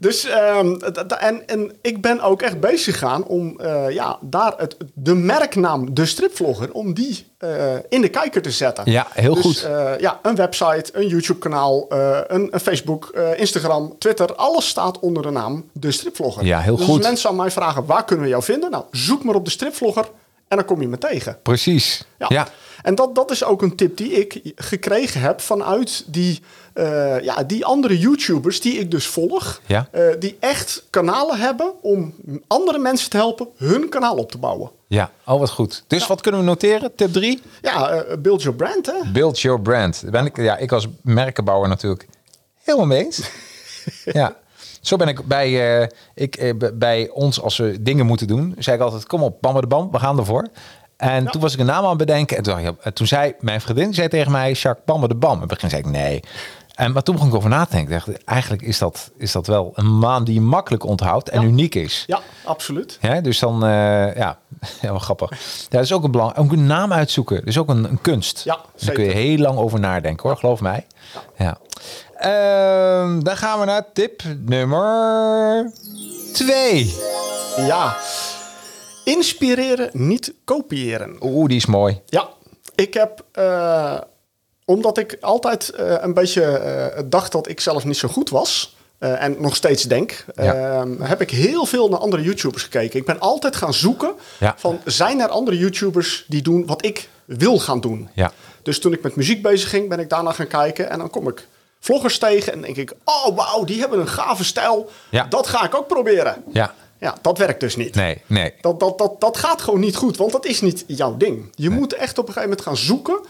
C: Dus ehm, d- d- en, en ik ben ook echt bezig gaan om eh, ja, daar het, de merknaam, de stripvlogger, om die eh, in de kijker te zetten.
A: Ja, heel
C: dus,
A: goed.
C: eh, ja, een website, een YouTube-kanaal, eh, een, een Facebook, eh, Instagram, Twitter. Alles staat onder de naam de stripvlogger.
A: Ja, heel
C: dus
A: goed.
C: Als mensen aan mij vragen, waar kunnen we jou vinden? Nou, zoek maar op de stripvlogger en dan kom je me tegen.
A: Precies.
C: Ja.
A: ja.
C: En dat, dat is ook een tip die ik gekregen heb vanuit die, eh, ja, die andere YouTubers die ik dus volg.
A: Ja.
C: Eh, die echt kanalen hebben om andere mensen te helpen hun kanaal op te bouwen.
A: Ja, oh wat goed. Dus wat kunnen we noteren? Tip 3?
C: Ja, eh, build your brand hè.
A: Build your brand. Daar Ben ik, ja, ik als merkenbouwer natuurlijk helemaal mee eens. ja. Zo ben ik bij, eh, ik, eh, b- bij ons, als we dingen moeten doen, zei ik altijd, kom op, bam de bam, we gaan ervoor. En toen was ik een naam aan het bedenken. En toen, dacht ik, ja, en toen zei mijn vriendin zei tegen mij, Jacques, bam de bam. En begin zei ik, nee. En, maar toen begon ik over na te denken. Ik dacht, eigenlijk is dat, is dat wel een naam die je makkelijk onthoudt en
C: Ja.
A: uniek is.
C: Ja, absoluut.
A: Hè, dus dan, eh, ja, helemaal grappig. Ja, dat is ook een belang. Ook een naam uitzoeken. Dat is ook een, een kunst.
C: Ja,
A: Daar
C: zeker.
A: kun je heel lang over nadenken hoor, geloof mij. Ja. Ehm, dan gaan we naar tip nummer 2.
C: Ja. Inspireren, niet kopiëren.
A: Oeh, die is mooi.
C: Ja, ik heb. eh, omdat ik altijd eh, een beetje eh, dacht dat ik zelf niet zo goed was. eh, en nog steeds denk,
A: Ja.
C: ehm, heb ik heel veel naar andere YouTubers gekeken. Ik ben altijd gaan zoeken
A: Ja.
C: van zijn er andere YouTubers die doen wat ik wil gaan doen.
A: Ja.
C: Dus toen ik met muziek bezig ging, ben ik daarna gaan kijken en dan kom ik vloggers tegen en denk ik, oh wauw, die hebben een gave stijl.
A: Ja.
C: Dat ga ik ook proberen.
A: Ja.
C: Ja, dat werkt dus niet.
A: Nee, nee.
C: Dat, dat, dat, dat gaat gewoon niet goed, want dat is niet jouw ding. Je moet echt op een gegeven moment gaan zoeken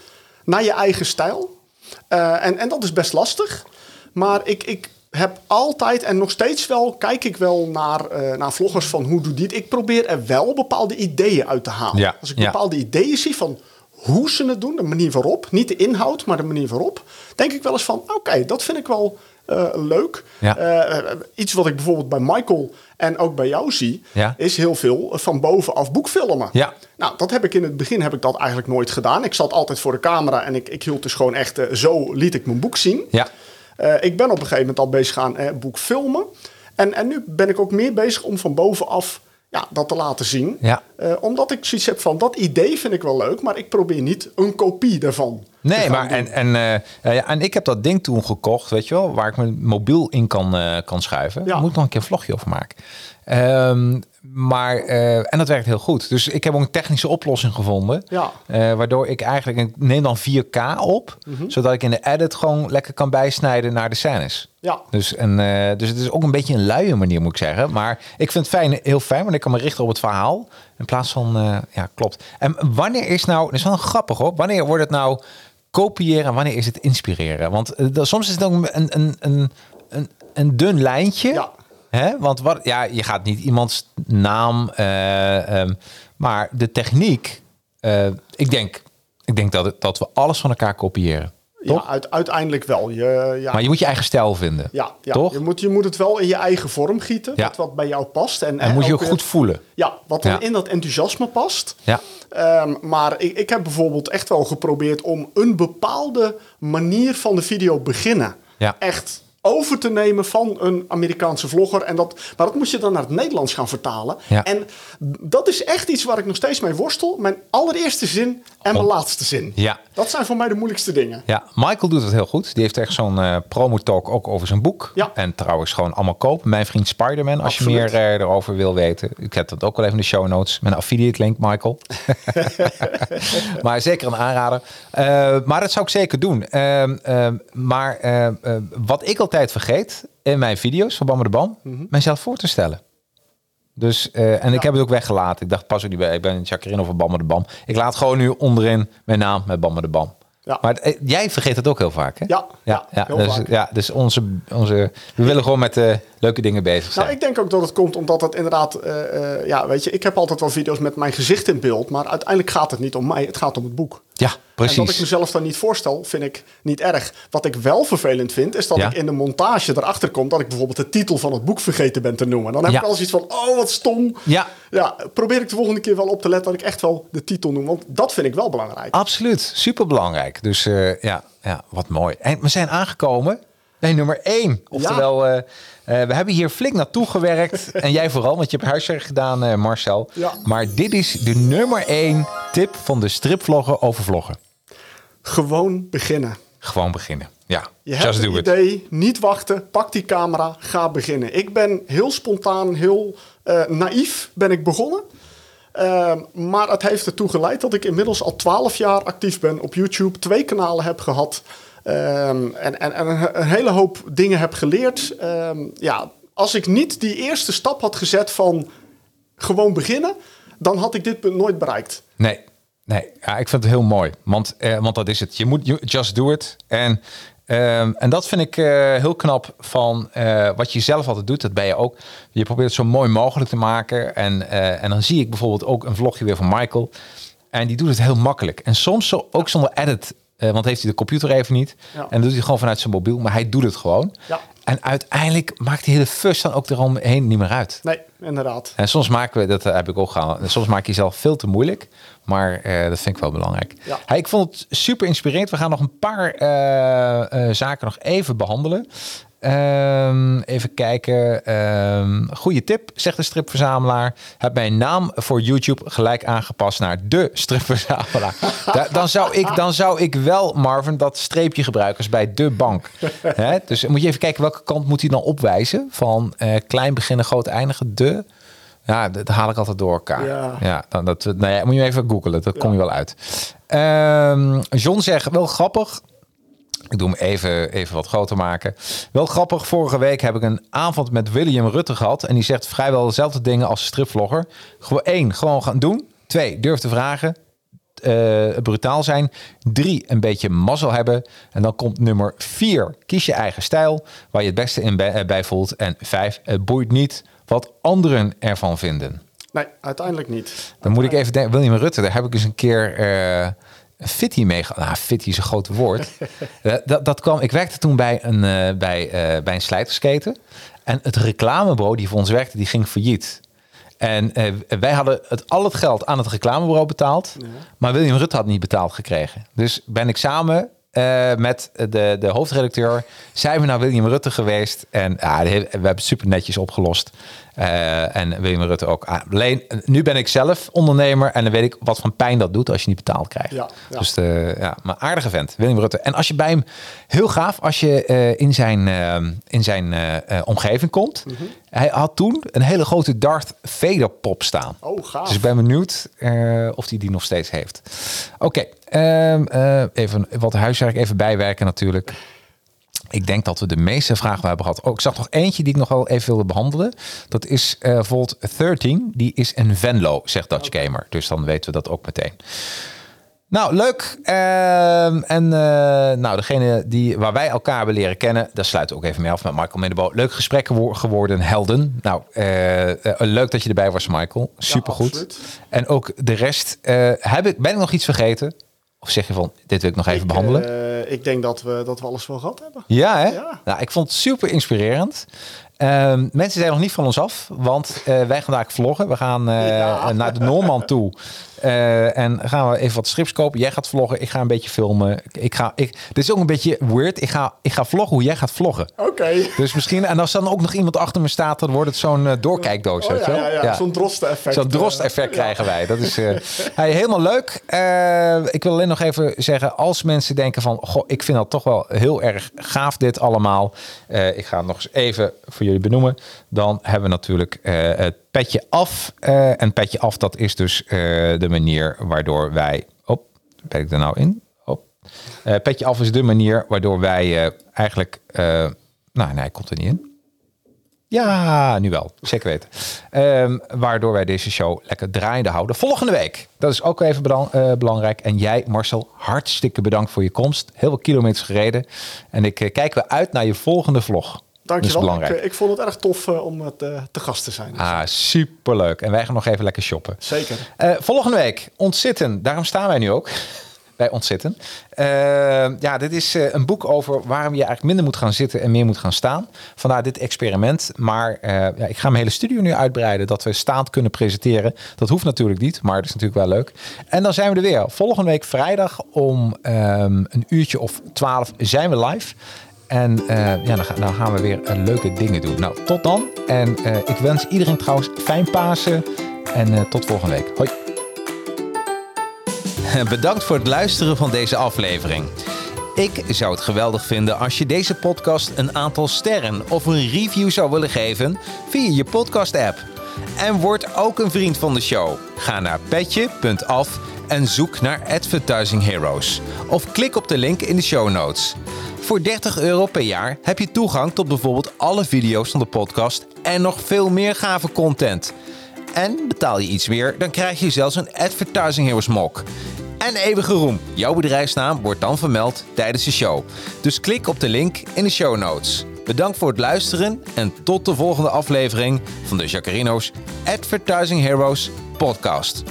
C: naar je eigen stijl. Eh, en, en dat is best lastig. Maar ik, ik heb altijd en nog steeds wel, kijk ik wel naar, eh, naar vloggers van hoe doe dit. Ik probeer er wel bepaalde ideeën uit te halen.
A: Ja,
C: Als ik
A: ja.
C: bepaalde ideeën zie van hoe ze het doen, de manier waarop, niet de inhoud, maar de manier waarop, denk ik wel eens van oké, dat vind ik wel eh, leuk.
A: Ja.
C: Eh, iets wat ik bijvoorbeeld bij Michael en ook bij jou zie,
A: Ja.
C: is heel veel van bovenaf boekfilmen.
A: Ja.
C: Nou, dat heb ik in het begin heb ik dat eigenlijk nooit gedaan. Ik zat altijd voor de camera en ik, ik hield dus gewoon echt, eh, zo liet ik mijn boek zien.
A: Ja.
C: Eh, ik ben op een gegeven moment al bezig gaan eh, boek filmen. En, en nu ben ik ook meer bezig om van bovenaf ja, dat te laten zien.
A: Ja.
C: Eh, omdat ik zoiets heb van dat idee vind ik wel leuk, maar ik probeer niet een kopie daarvan. te
A: Nee,
C: gaan
A: maar
C: doen.
A: en, en, eh, eh, ja, en ik heb dat ding toen gekocht, weet je wel, waar ik mijn mobiel in kan, eh, kan schuiven.
C: Ja.
A: Daar moet ik nog een keer een vlogje over maken. Ehm, maar, eh, en dat werkt heel goed. Dus ik heb ook een technische oplossing gevonden.
C: Ja.
A: eh, waardoor ik eigenlijk, ik neem dan 4K op,
C: Mhm.
A: zodat ik in de edit gewoon lekker kan bijsnijden naar de scènes.
C: Ja.
A: Dus, en, eh, dus het is ook een beetje een luie manier, moet ik zeggen. Maar ik vind het fijn, heel fijn, want ik kan me richten op het verhaal. In plaats van, eh, ja, klopt. En wanneer is nou, dat is wel grappig hoor, wanneer wordt het nou kopiëren en wanneer is het inspireren? Want eh, dat- soms is het ook een, een, een, een, een dun lijntje.
C: Ja.
A: Hè? Want wat, ja, je gaat niet iemands naam, eh, ehm, maar de techniek. eh, ik denk, ik denk dat, het- dat we alles van elkaar kopiëren. Toch?
C: Ja, uit, uiteindelijk wel. Je, ja,
A: Maar je moet je eigen stijl vinden.
C: Ja, ja.
A: toch?
C: Je, moet, je moet het wel in je eigen vorm gieten.
A: Ja.
C: Wat, wat bij jou past. En,
A: en moet je ook
C: weer-
A: goed voelen.
C: Ja, wat dan
A: Ja.
C: in dat enthousiasme past.
A: Ja.
C: Ehm, maar ik, ik heb bijvoorbeeld echt wel geprobeerd om een bepaalde manier van de video beginnen.
A: Ja.
C: Echt over te nemen van een Amerikaanse vlogger. En dat, maar dat moet je dan naar het Nederlands gaan vertalen.
A: Ja.
C: En dat is echt iets waar ik nog steeds mee worstel. Mijn allereerste zin en mijn
A: Oh.
C: laatste zin.
A: Ja.
C: Dat zijn voor mij de moeilijkste dingen.
A: Ja, Michael doet het heel goed. Die heeft echt zo'n promo promotalk ook over zijn boek.
C: Ja.
A: En trouwens gewoon allemaal kopen. Mijn vriend Spider-Man, als je
C: Absoluut.
A: meer eh, erover wil weten. Ik heb dat ook wel even in de show notes. Mijn affiliate link, Michael. maar zeker een aanrader. Eh, maar dat zou ik zeker doen. Ehm, ehm, maar ehm, ehm, wat ik altijd vergeet in mijn video's van Bam de Bam...
C: Mhm.
A: mijzelf voor te stellen. Dus, eh, en ik heb het ook weggelaten. Ik dacht, pas ook niet bij. Ik ben Jacqueline of Bam de Bam. Ik laat gewoon nu onderin mijn naam met Bam de Bam.
C: Ja.
A: Maar eh, jij vergeet dat ook heel vaak, hè?
C: Ja,
A: ja,
C: ja, heel
A: dus,
C: vaak.
A: ja dus onze, onze, we willen gewoon met eh, leuke dingen bezig zijn.
C: Nou, ik denk ook dat het komt omdat het inderdaad, eh, eh, ja, weet je, ik heb altijd wel video's met mijn gezicht in beeld, maar uiteindelijk gaat het niet om mij, het gaat om het boek.
A: ja,
C: En dat ik
A: precies.
C: mezelf dan niet voorstel, vind ik niet erg. Wat ik wel vervelend vind, is dat
A: Ja.
C: ik in de montage erachter kom dat ik bijvoorbeeld de titel van het boek vergeten ben te noemen. Dan heb
A: Ja.
C: ik al zoiets van, oh wat stom.
A: Ja.
C: ja, probeer ik de volgende keer wel op te letten dat ik echt wel de titel noem, want dat vind ik wel belangrijk.
A: Absoluut, superbelangrijk. Dus eh, ja, ja, wat mooi. En we zijn aangekomen bij nummer één. Oftewel, eh, eh, we hebben hier flink naartoe gewerkt. en jij vooral, want je hebt huiswerk gedaan, eh, Marcel.
C: Ja.
A: Maar dit is de nummer één tip van de stripvlogger over vloggen.
C: Gewoon beginnen.
A: Gewoon beginnen. Ja,
C: Je hebt
A: just
C: een
A: do it.
C: idee, niet wachten, pak die camera, ga beginnen. Ik ben heel spontaan, heel eh, naïef ben ik begonnen. Ehm, maar het heeft ertoe geleid dat ik inmiddels al 12 jaar actief ben op YouTube. Twee kanalen heb gehad. Ehm, en en, en een, een hele hoop dingen heb geleerd. Ehm, ja, als ik niet die eerste stap had gezet van gewoon beginnen... dan had ik dit punt nooit bereikt.
A: Nee, nee. Ja, ik vind het heel mooi. Want, eh, want dat is het. Je moet je- just do it. En, ehm, en dat vind ik eh, heel knap van eh, wat je zelf altijd doet. Dat ben je ook. Je probeert het zo mooi mogelijk te maken. En, eh, en dan zie ik bijvoorbeeld ook een vlogje weer van Michael. En die doet het heel makkelijk. En soms zo, ook zonder edit. eh, want heeft hij de computer even niet.
C: Ja.
A: En dan doet hij gewoon vanuit zijn mobiel. Maar hij doet het gewoon.
C: Ja.
A: En uiteindelijk maakt die hele fuss dan ook eromheen niet meer uit.
C: Nee, inderdaad.
A: En soms maken we, dat heb ik ook gehaald, soms maak je jezelf veel te moeilijk. Maar eh, dat vind ik wel belangrijk.
C: Ja.
A: Hey, ik vond het super inspirerend. We gaan nog een paar eh, eh, zaken nog even behandelen. Ehm, even kijken. Ehm goede tip, zegt de stripverzamelaar. Heb mijn naam voor YouTube gelijk aangepast naar de stripverzamelaar. Da- dan, zou ik, dan zou ik wel, Marvin, dat streepje gebruiken als bij de bank. Hè? Dus moet je even kijken welke kant moet hij dan opwijzen. Van eh, klein beginnen, groot eindigen, de. Ja, dat haal ik altijd door elkaar.
C: Ja.
A: Ja, dan, dat, nou ja, moet je even googelen, dat kom je wel uit. Ehm, John zegt, wel grappig. Ik doe hem even, even wat groter maken. Wel grappig, vorige week heb ik een avond met William Rutte gehad. En die zegt vrijwel dezelfde dingen als de stripvlogger. Gewoon één, gewoon gaan doen. Twee, durf te vragen. Eh, brutaal zijn. Drie, een beetje mazzel hebben. En dan komt nummer vier. Kies je eigen stijl, waar je het beste in bij, eh, bij voelt. En vijf, het boeit niet wat anderen ervan vinden.
C: Nee, uiteindelijk niet.
A: Dan moet ik even denken, William Rutte, daar heb ik eens een keer eh een fitty mee gehad. Nou, fitty is een groot woord. Eh, dat, dat kwam, ik werkte toen bij een, eh, bij, eh, bij een slijtersketen. En het reclamebureau die voor ons werkte, die ging failliet. En eh, wij hadden het, al het geld aan het reclamebureau betaald. Maar William Rutte had niet betaald gekregen. Dus ben ik samen eh, met de, de hoofdredacteur zijn we naar William Rutte geweest. En ja, de hele- we hebben het super netjes opgelost. Eh, en William Rutte ook. Ah, Alleen, nu ben ik zelf ondernemer. En dan weet ik wat van pijn dat doet als je niet betaald krijgt.
C: Ja, ja.
A: Dus eh, ja, maar aardige vent, Willem Rutte. En als je bij hem, heel gaaf, als je eh, in zijn, eh, in zijn eh, eh, omgeving komt.
C: Mhm.
A: Hij had toen een hele grote Darth Vader pop staan.
C: Oh, gaaf.
A: Dus ik ben benieuwd eh, of hij die nog steeds heeft. Oké, ehm, eh, even wat huiswerk even bijwerken natuurlijk. Ik denk dat we de meeste vragen wel hebben gehad. Oh, ik zag nog eentje die ik nog wel even wilde behandelen. Dat is eh Volt 13. Die is een Venlo, zegt Dutch Gamer. Dus dan weten we dat ook meteen. Nou, leuk. Ehm, en eh, nou, degene die, waar wij elkaar hebben leren kennen, daar sluiten we ook even mee af met Michael Minnebo. Leuk gesprek gewo- geworden, helden. Nou, eh, eh, leuk dat je erbij was, Michael. Supergoed.
C: absoluut.
A: en ook de rest. eh, heb ik, ben ik nog iets vergeten? Of zeg je van, dit wil ik nog even behandelen?
C: Eh, ik denk dat we, dat we alles wel gehad hebben.
A: Ja, hè?
C: Ja.
A: Nou, ik vond het super inspirerend. Ehm, mensen zijn nog niet van ons af, want eh, wij gaan vandaag vloggen. We gaan eh,
C: Ja.
A: naar de Noorman toe. Eh, en gaan we even wat strips kopen. Jij gaat vloggen, ik ga een beetje filmen. Ik- Ik ga, ik, dit is ook een beetje weird. Ik ga, ik ga vloggen hoe jij gaat vloggen.
C: Oké.
A: Dus misschien, en als dan ook nog iemand achter me staat, dan wordt het zo'n eh, doorkijkdoos.
C: Oh,
A: weet je
C: ja,
A: wel?
C: ja, ja.
A: Ja.
C: Zo'n eh, drosten-effect.
A: Zo'n drost-effect krijgen wij. Dat is eh, hey, helemaal leuk. Eh, ik wil alleen nog even zeggen, als mensen denken van... Goh, ik vind dat toch wel heel erg gaaf dit allemaal. Eh, ik ga het nog eens even voor jullie benoemen. Dan hebben we natuurlijk eh, het petje af. Eh, en petje af, dat is dus eh, de manier waardoor wij... Op, ben ik er nou in? Op. Eh, petje af is de manier waardoor wij eh, eigenlijk... eh, nou, nee, hij komt er niet in. Ja, nu wel. Zeker weten. Ehm, waardoor wij deze show lekker draaiende houden. Volgende week. Dat is ook even belang- eh, belangrijk. En jij, Marcel, hartstikke bedankt voor je komst. Heel veel kilometers gereden. En ik eh, kijk weer uit naar je volgende vlog. Dat is
C: Dankjewel.
A: belangrijk.
C: Ik, eh, ik vond het erg tof eh, om eh, te, te gast te zijn.
A: Ah, superleuk. En wij gaan nog even lekker shoppen.
C: Zeker.
A: Eh, volgende week, Ontzitten. Daarom staan wij nu ook. Bij Ontzitten. Eh, ja, dit is eh, een boek over waarom je eigenlijk minder moet gaan zitten en meer moet gaan staan. Vandaar dit experiment. Maar eh, ja, ik ga mijn hele studio nu uitbreiden. Dat we staand kunnen presenteren. Dat hoeft natuurlijk niet, maar het is natuurlijk wel leuk. En dan zijn we er weer. Volgende week vrijdag om ehm, een uurtje of twaalf zijn we live. En eh, ja, dan, ga- dan gaan we weer eh, leuke dingen doen. Nou, tot dan. En eh, ik wens iedereen trouwens fijn Pasen. En eh, tot volgende week. Hoi. Bedankt voor het luisteren van deze aflevering. Ik zou het geweldig vinden als je deze podcast een aantal sterren of een review zou willen geven via je podcast-app. En word ook een vriend van de show. Ga naar petje.af en zoek naar Advertising Heroes. Of klik op de link in de show notes. Voor 30 euro per jaar heb je toegang tot bijvoorbeeld alle video's van de podcast en nog veel meer gave content. En betaal je iets meer, dan krijg je zelfs een Advertising Heroes mok. En eeuwige roem. Jouw bedrijfsnaam wordt dan vermeld tijdens de show. Dus klik op de link in de show notes. Bedankt voor het luisteren en tot de volgende aflevering van de Jacarino's Advertising Heroes podcast.